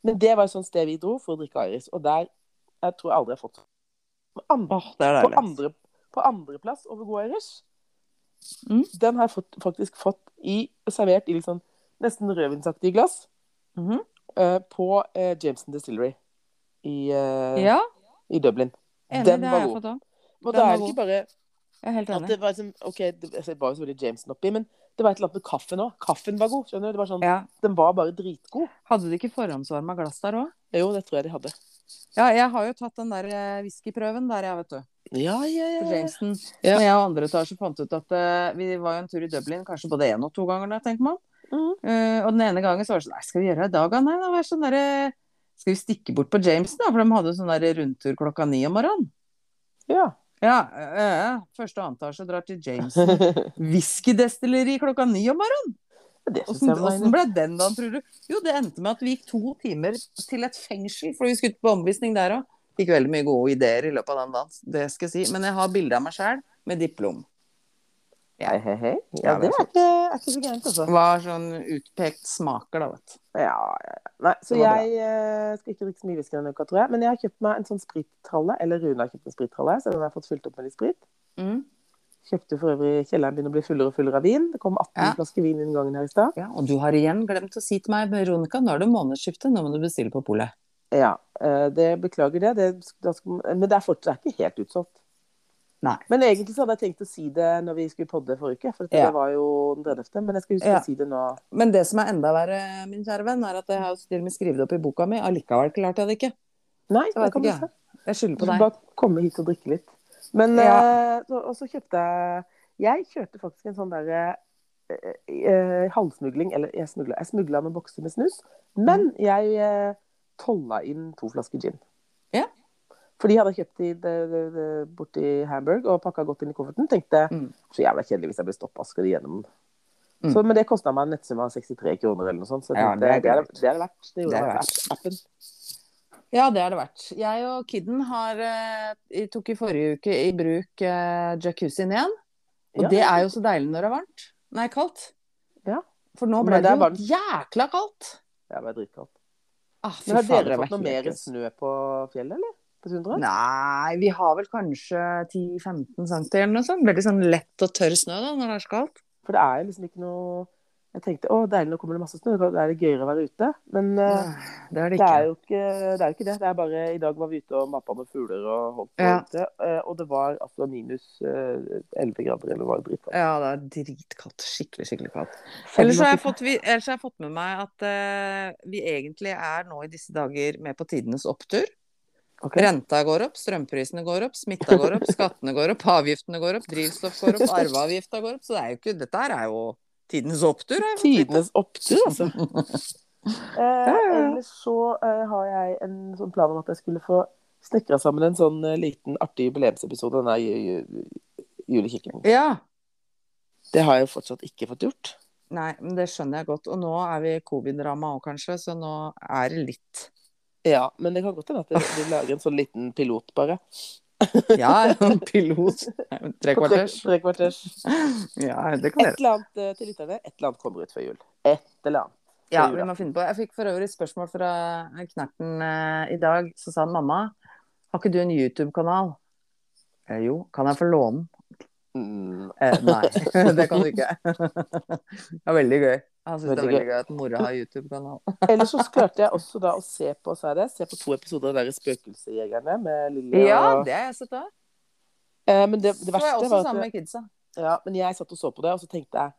Speaker 2: Men det var et sånt sted vi dro for å drikke Iris. Og der jeg tror jeg aldri jeg har fått på andre,
Speaker 1: Åh, det er
Speaker 2: på
Speaker 1: deilig. altså.
Speaker 2: andre, på andreplass over god Iris.
Speaker 1: Mm.
Speaker 2: Den har jeg fått, faktisk fått i, servert i litt sånn nesten rødvinsaktige glass
Speaker 1: Mhm.
Speaker 2: eh, på eh, Jameson Distillery i, eh,
Speaker 1: Ja,
Speaker 2: i Dublin.
Speaker 1: enig,
Speaker 2: Den
Speaker 1: det
Speaker 2: var
Speaker 1: har jeg
Speaker 2: god.
Speaker 1: fått òg. Den
Speaker 2: Og da er
Speaker 1: var
Speaker 2: det ikke bare
Speaker 1: Jeg er helt
Speaker 2: at
Speaker 1: enig.
Speaker 2: det var liksom, ok, det altså, det var jo selvfølgelig Jameson oppi, men Det var et eller annet med kaffen òg. Kaffen var god. skjønner du? Det var sånn,
Speaker 1: Ja.
Speaker 2: Den var bare dritgod.
Speaker 1: Hadde de ikke forhåndsvarma glass der òg?
Speaker 2: Jo, det tror jeg de hadde.
Speaker 1: Ja, jeg har jo tatt den der eh, whiskyprøven der, jeg, vet du.
Speaker 2: Ja, ja,
Speaker 1: på
Speaker 2: ja.
Speaker 1: Jameson.
Speaker 2: Ja.
Speaker 1: Når jeg og andre etasje fant ut at eh, vi var jo en tur i Dublin, kanskje både én og to ganger der, tenker man.
Speaker 2: Mhm.
Speaker 1: Eh, og den ene gangen så var det sånn Nei, skal vi gjøre det i dag, da? Nei, da var det sånn derre Skal vi stikke bort på Jameson, da? For de hadde sånn der rundtur klokka ni om morgenen.
Speaker 2: ja.
Speaker 1: Ja, eh, første og annen etasje drar til Jameson. *laughs* Whiskydestilleri klokka ni om morgenen.
Speaker 2: *laughs* Det synes
Speaker 1: Åssen
Speaker 2: jeg var
Speaker 1: åssen ble den da, tror du? Jo, det endte med at vi gikk to timer til et fengsel, for vi skulle på omvisning der òg. Fikk veldig mye gode ideer i løpet av den dans, det skal jeg si. Men jeg har bilde av meg sjæl med diplom.
Speaker 2: Hei, hei, hei.
Speaker 1: Ja,
Speaker 2: Ja,
Speaker 1: det
Speaker 2: det
Speaker 1: er
Speaker 2: er ikke, er ikke så gærent, altså.
Speaker 1: Var sånn utpekt smaker, da, vet du.
Speaker 2: Ja, ja, ja. Nei, så
Speaker 1: Det var
Speaker 2: jeg eh, skal ikke drikke så mye whisky denne uka, tror jeg. Men jeg har kjøpt meg en sånn sprittralle, eller Rune har kjøpt en sprittralle, så den har jeg fått fylt opp med litt sprit. Mm. Kjøpte for øvrig kjelleren begynner å bli fullere og fullere av vin. Det kom 18
Speaker 1: Ja.
Speaker 2: flasker vin inn gangen her i stad.
Speaker 1: Ja, og du har igjen glemt å si til meg, Veronica, nå er det månedsskifte, nå må du bestille på polet.
Speaker 2: Ja, eh, det beklager det. det da skal, men det er fortsatt det er ikke helt utsolgt.
Speaker 1: Nei.
Speaker 2: Men egentlig så hadde jeg tenkt å si det når vi skulle podde forrige uke, for
Speaker 1: Ja.
Speaker 2: det var jo den 30. Men jeg skal huske
Speaker 1: Ja.
Speaker 2: å si det nå.
Speaker 1: Men det som er enda verre, min kjære venn, er at jeg har jo til og med skrevet det opp i boka mi, allikevel klarte jeg det ikke.
Speaker 2: Nei,
Speaker 1: vet
Speaker 2: det kan du
Speaker 1: ikke.
Speaker 2: se.
Speaker 1: Jeg skylder
Speaker 2: Du
Speaker 1: på
Speaker 2: får
Speaker 1: deg.
Speaker 2: bare komme hit og drikke litt. Men,
Speaker 1: Ja.
Speaker 2: eh, så, og så kjøpte jeg Jeg kjørte faktisk en sånn derre eh, eh, halvsmugling, eller jeg smugla, jeg smugla noen bokser med snus, men
Speaker 1: Mhm.
Speaker 2: jeg eh, tolla inn to flasker gin.
Speaker 1: Ja.
Speaker 2: For de hadde jeg kjøpt i, det, det, det, borti Hamburg og pakka godt inn i kofferten. Tenkte
Speaker 1: Mm.
Speaker 2: så jævla kjedelig hvis jeg ble stoppa, skal de gjennom den.
Speaker 1: Mm.
Speaker 2: Så, men det kosta meg en nettsum av 63 kroner eller noe sånt. Så jeg
Speaker 1: Ja,
Speaker 2: tenkte,
Speaker 1: det er
Speaker 2: det er
Speaker 1: greit.
Speaker 2: det er det verdt. Det
Speaker 1: Det er
Speaker 2: gjorde
Speaker 1: det
Speaker 2: meg
Speaker 1: verdt.
Speaker 2: appen.
Speaker 1: Ja, det er det verdt. Jeg og kidden har, eh, tok i forrige uke i bruk eh, jacuzzien igjen. Og
Speaker 2: Ja.
Speaker 1: det er jo så deilig når det er varmt. Nei, kaldt.
Speaker 2: Ja.
Speaker 1: For nå ble det
Speaker 2: Men det er
Speaker 1: jo
Speaker 2: varmt.
Speaker 1: jækla kaldt.
Speaker 2: Det var dritkaldt.
Speaker 1: Ah, fy
Speaker 2: Men har
Speaker 1: fader, det
Speaker 2: dere
Speaker 1: var
Speaker 2: fått noe
Speaker 1: helt
Speaker 2: mer
Speaker 1: jækla.
Speaker 2: snø på fjellet, eller? På Sundra?
Speaker 1: Nei, vi har vel kanskje 10-15 cm eller noe sånt. Veldig sånn lett og tørr snø da, når det er så kaldt.
Speaker 2: For det er jo liksom ikke noe Jeg tenkte å, deilig, nå kommer det masse snø, da er det gøyere å være ute. Men eh,
Speaker 1: Det er det
Speaker 2: det
Speaker 1: ikke.
Speaker 2: er jo ikke det. Er jo ikke det. det er bare, I dag var vi ute og mappa med fugler og holdt på
Speaker 1: Ja.
Speaker 2: ute, eh, og det var altså minus eh, 11 grader, eller var det dritkaldt?
Speaker 1: Ja, det er dritkaldt. Skikkelig, skikkelig kaldt. Ellers har jeg fått, vi, ellers har jeg fått med meg at eh, vi egentlig er nå i disse dager med på tidenes opptur.
Speaker 2: Ok.
Speaker 1: Renta går opp, strømprisene går opp, smitta går *laughs* opp, skattene går opp, avgiftene går opp, drivstoff går opp, arveavgifta går opp. Så det er jo ikke, dette her er jo tidenes opptur. har jeg fått vite.
Speaker 2: Tidenes opptur, altså. Eh, ellers så eh, har jeg en sånn plan om at jeg skulle få snekra sammen en sånn eh, liten artig jubileumsepisode. Denne ju- ju- julekikkingen.
Speaker 1: Ja.
Speaker 2: Det har jeg jo fortsatt ikke fått gjort.
Speaker 1: Nei, men det skjønner jeg godt. Og nå er vi covid-ramma òg, kanskje, så nå er det litt
Speaker 2: Ja, men det kan godt hende at vi, vi lager en sånn liten pilot, bare.
Speaker 1: Ja, en pilot. Tre
Speaker 2: På tre,
Speaker 1: kvarters.
Speaker 2: tre kvarters.
Speaker 1: Ja, det
Speaker 2: Et
Speaker 1: kan dere.
Speaker 2: eller annet eh, til lytterne. Et eller annet kommer ut før jul. Et eller annet.
Speaker 1: Ja, vi må finne på. det. Jeg fikk for øvrig spørsmål fra Knerten eh, i dag. Så sa han mamma, har ikke du en YouTube-kanal? Eh, jo, kan jeg få låne den?
Speaker 2: Mm,
Speaker 1: Eh, nei, det kan du ikke. Det er veldig gøy. Han syns det er
Speaker 2: Veldig
Speaker 1: veldig gøy at mora har YouTube-kanal.
Speaker 2: Ellers så klarte jeg også da å se på, sa jeg det, se på to episoder av der Spøkelsejegerne med Lilly
Speaker 1: Ja,
Speaker 2: og
Speaker 1: det har jeg sett òg.
Speaker 2: eh, Men det,
Speaker 1: Så
Speaker 2: det
Speaker 1: var jeg
Speaker 2: verste
Speaker 1: også
Speaker 2: var
Speaker 1: sammen
Speaker 2: at
Speaker 1: med kidsa.
Speaker 2: ja, Men jeg satt og så på det, og så tenkte jeg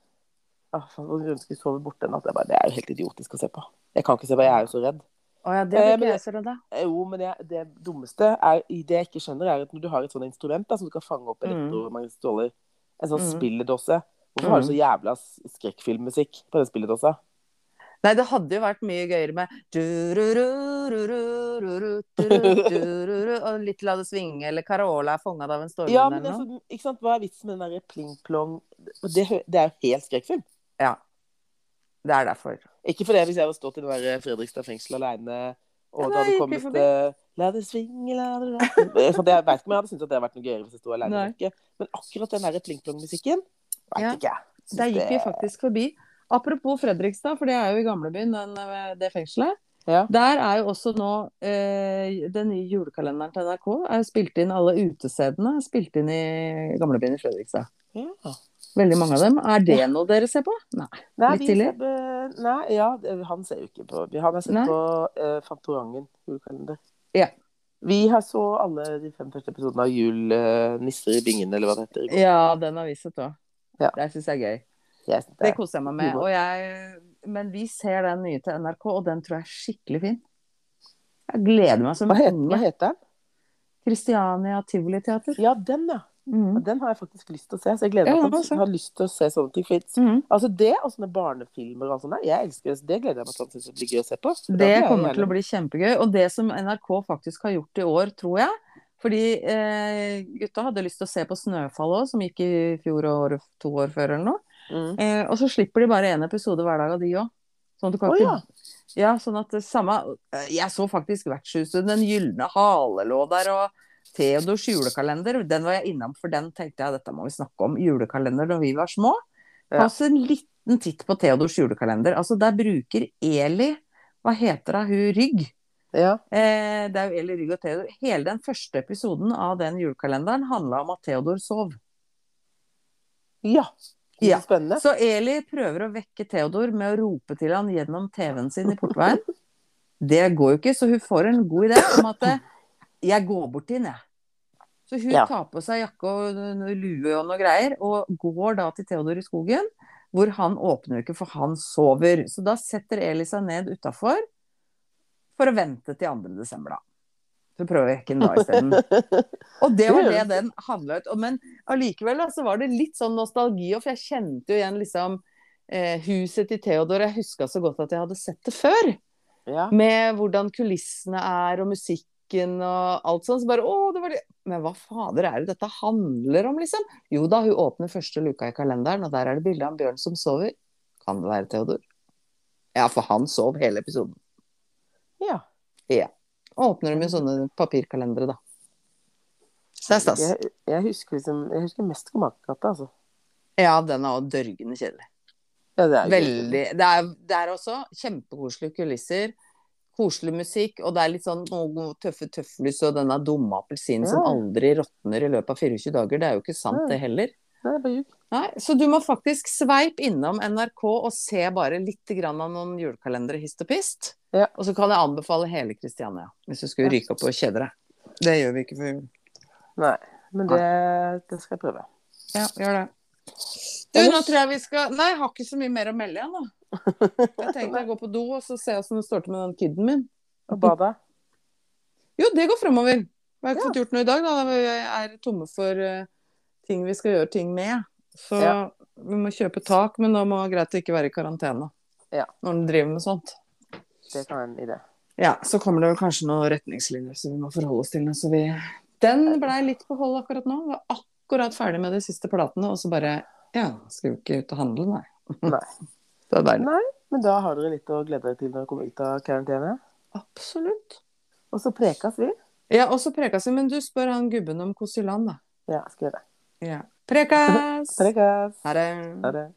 Speaker 2: Å, faen, hvor grunn skulle jeg sove borte en natt? Jeg bare, Det er jo helt idiotisk å se på. Jeg kan ikke se på, jeg er jo så redd.
Speaker 1: Å ja, det
Speaker 2: Eh,
Speaker 1: blir
Speaker 2: men
Speaker 1: ikke
Speaker 2: jeg-
Speaker 1: jeg så redd av.
Speaker 2: Eh, Jo, men jeg, det dummeste er, i det jeg ikke skjønner, er at når du har et sånt instrument da, som du kan fange opp
Speaker 1: Mm.
Speaker 2: elektromagnetiske stråler, en sånn
Speaker 1: Mm.
Speaker 2: spilledåse Hvorfor har du så jævla s- skrekkfilmmusikk på den spilledåsa?
Speaker 1: Nei, det hadde jo vært mye gøyere med du-ru-ru-ru-ru-ru-ru, du-ru-ru-ru, Og litt La det svinge, eller Carola er fanga av en stormvind,
Speaker 2: Ja, men
Speaker 1: eller noe.
Speaker 2: altså, ikke sant? Hva er vitsen med den derre pling-plong det, hø- det er jo helt skrekkfilm.
Speaker 1: Det er derfor.
Speaker 2: Ikke for det hvis jeg hadde stått i den der Fredrikstad fengsel aleine, og
Speaker 1: Ja,
Speaker 2: det
Speaker 1: nei,
Speaker 2: hadde
Speaker 1: ikke
Speaker 2: kommet
Speaker 1: forbi.
Speaker 2: eh, La det svinge, la det rakne». Eh, sånn, Jeg vet ikke om jeg hadde syntes at det hadde vært noe gøyere hvis jeg sto aleine.
Speaker 1: Nei.
Speaker 2: Men akkurat den derre pling-plong-musikken Vet
Speaker 1: Ja.
Speaker 2: ikke jeg. Synes
Speaker 1: Der gikk vi
Speaker 2: det-
Speaker 1: faktisk forbi. Apropos Fredrikstad, for det er jo i gamlebyen, den- eh, det fengselet.
Speaker 2: Ja.
Speaker 1: Der er jo også nå eh, den nye julekalenderen til NRK. er jo spilt inn Alle utestedene er spilt inn i gamlebyen i Fredrikstad.
Speaker 2: Ja.
Speaker 1: Veldig mange av dem. Er det noe dere ser på? Nei.
Speaker 2: Nei,
Speaker 1: Litt
Speaker 2: vi
Speaker 1: tidlig?
Speaker 2: ser på- nei, ja, det- han ser jo ikke på vi- Han har sett
Speaker 1: Nei.
Speaker 2: på eh, Fantorangen julekalender.
Speaker 1: Ja.
Speaker 2: Vi har så alle de fem første episodene av Jul eh, nisser i bingen, eller hva det heter. i går.
Speaker 1: Ja, den har vi sett òg.
Speaker 2: Ja.
Speaker 1: Det syns jeg er gøy.
Speaker 2: Jeg synes
Speaker 1: Det
Speaker 2: det er
Speaker 1: koser jeg meg med. Og jeg, men vi ser den nye til NRK, og den tror jeg er skikkelig fin. Jeg gleder meg som
Speaker 2: hva, heter, hva
Speaker 1: unge.
Speaker 2: heter den?
Speaker 1: Christiania Tivoliteater.
Speaker 2: Ja, den, ja.
Speaker 1: Mm.
Speaker 2: Og Den har jeg faktisk lyst til å se. Så jeg gleder
Speaker 1: Ja,
Speaker 2: meg
Speaker 1: hva
Speaker 2: til
Speaker 1: så?
Speaker 2: jeg har lyst til å se sånne ting. For it's-
Speaker 1: Mm.
Speaker 2: Altså det og sånne barnefilmer og alt sånt der, jeg elsker det. så Det gleder jeg meg til. Jeg synes det blir gøy å se på.
Speaker 1: Det kommer til å bli kjempegøy. Og det som NRK faktisk har gjort i år, tror jeg Fordi eh, gutta hadde lyst til å se på 'Snøfall' òg, som gikk i fjor og året to år før eller noe.
Speaker 2: mm.
Speaker 1: Eh, og så slipper de bare én episode hver dag av de òg. Sånn at du kan
Speaker 2: Å,
Speaker 1: ikke
Speaker 2: ja.
Speaker 1: Ja, sånn at det samme eh, Jeg så faktisk vertshuset, Den gylne hale lå der, og Theodors julekalender. Den var jeg innom, for den tenkte jeg dette må vi snakke om. Julekalender da vi var små.
Speaker 2: Ja.
Speaker 1: Ta oss en liten titt på Theodors julekalender. Altså, der bruker Eli Hva heter hun? Hun Rygg.
Speaker 2: ja.
Speaker 1: Eh, det er jo Eli Rygg og Theodor. Hele den første episoden av den julekalenderen handla om at Theodor sov.
Speaker 2: Ja. Det
Speaker 1: Ja.
Speaker 2: er spennende.
Speaker 1: Så Eli prøver å vekke Theodor med å rope til han gjennom TV-en sin i portveien. Det går jo ikke, så hun får en god idé om at eh, jeg går bort inn, jeg. Så hun
Speaker 2: Ja.
Speaker 1: tar på seg jakke og noe lue og noe greier, og går da til Theodor i skogen, hvor han åpner jo ikke, for han sover. Så da setter Eli seg ned utafor for å vente til 2. desember, da. Så prøver jeg ikke den da isteden. *laughs* Og det var det den handla ut om. Men allikevel da, så var det litt sånn nostalgi òg, for jeg kjente jo igjen liksom eh, huset til Theodor. Jeg huska så godt at jeg hadde sett det før.
Speaker 2: Ja.
Speaker 1: Med hvordan kulissene er, og musikken og alt sånn. Så bare å, det var det Men hva fader er det dette handler om, liksom? Jo da, hun åpner første luka i kalenderen, og der er det bilde av en bjørn som sover. Kan det være Theodor? Ja, for han sov hele episoden.
Speaker 2: ja.
Speaker 1: Åpner de med sånne papirkalendere, da. Så det er stas.
Speaker 2: Jeg, jeg, husker liksom, jeg husker mest Skomakergata, altså.
Speaker 1: Ja, den er òg dørgende kjedelig.
Speaker 2: Ja, det er gøy.
Speaker 1: Veldig. Det er, det er også kjempekoselige kulisser. Koselig musikk, og det er litt sånn noe tøffe tøflus og denne dumme appelsinen som
Speaker 2: Ja.
Speaker 1: aldri råtner i løpet av 24 dager. Det er jo ikke sant,
Speaker 2: Ja.
Speaker 1: det heller.
Speaker 2: Nei, det er bare ljug.
Speaker 1: Nei, så du må faktisk sveip innom NRK og se bare litt grann av noen julekalendere hist og pist.
Speaker 2: Ja.
Speaker 1: Og så kan jeg anbefale hele Kristiania, hvis du skulle
Speaker 2: Ja.
Speaker 1: ryke opp og kjede deg. Det gjør vi ikke for jul.
Speaker 2: Nei, men det, det skal jeg prøve.
Speaker 1: Ja, gjør det. Du, nå tror jeg vi skal Nei, jeg har ikke så mye mer å melde igjen, da. *laughs* Jeg tenkte å gå på do og så se åssen det står til med den kiden min.
Speaker 2: Og bade.
Speaker 1: Jo, det går framover. Vi har ikke fått gjort noe i dag, da. da Vi er tomme for eh, ting vi skal gjøre ting med. Så
Speaker 2: Ja.
Speaker 1: vi må kjøpe tak, men da må det greit å ikke være i karantene
Speaker 2: Ja.
Speaker 1: når du driver med sånt.
Speaker 2: Det kan være en idé.
Speaker 1: Ja, så kommer det vel kanskje noen retningslinjer som vi må forholde oss til. nå, Så vi... Den blei litt på hold akkurat nå. Var akkurat ferdig med de siste platene, og så bare Ja, skal vi ikke ut og handle, nei?
Speaker 2: Nei.
Speaker 1: Det er deilig.
Speaker 2: Nei, men da har dere litt å glede dere til når dere kommer ut av karantene.
Speaker 1: Absolutt.
Speaker 2: Og så prekas vi.
Speaker 1: Ja, og så prekas vi. Men du spør han gubben om Kosiland, da.
Speaker 2: Ja, skal vi gjøre det. *laughs*
Speaker 1: Ja. Prekas!
Speaker 2: Prekas.
Speaker 1: Ha det.
Speaker 2: Ha det.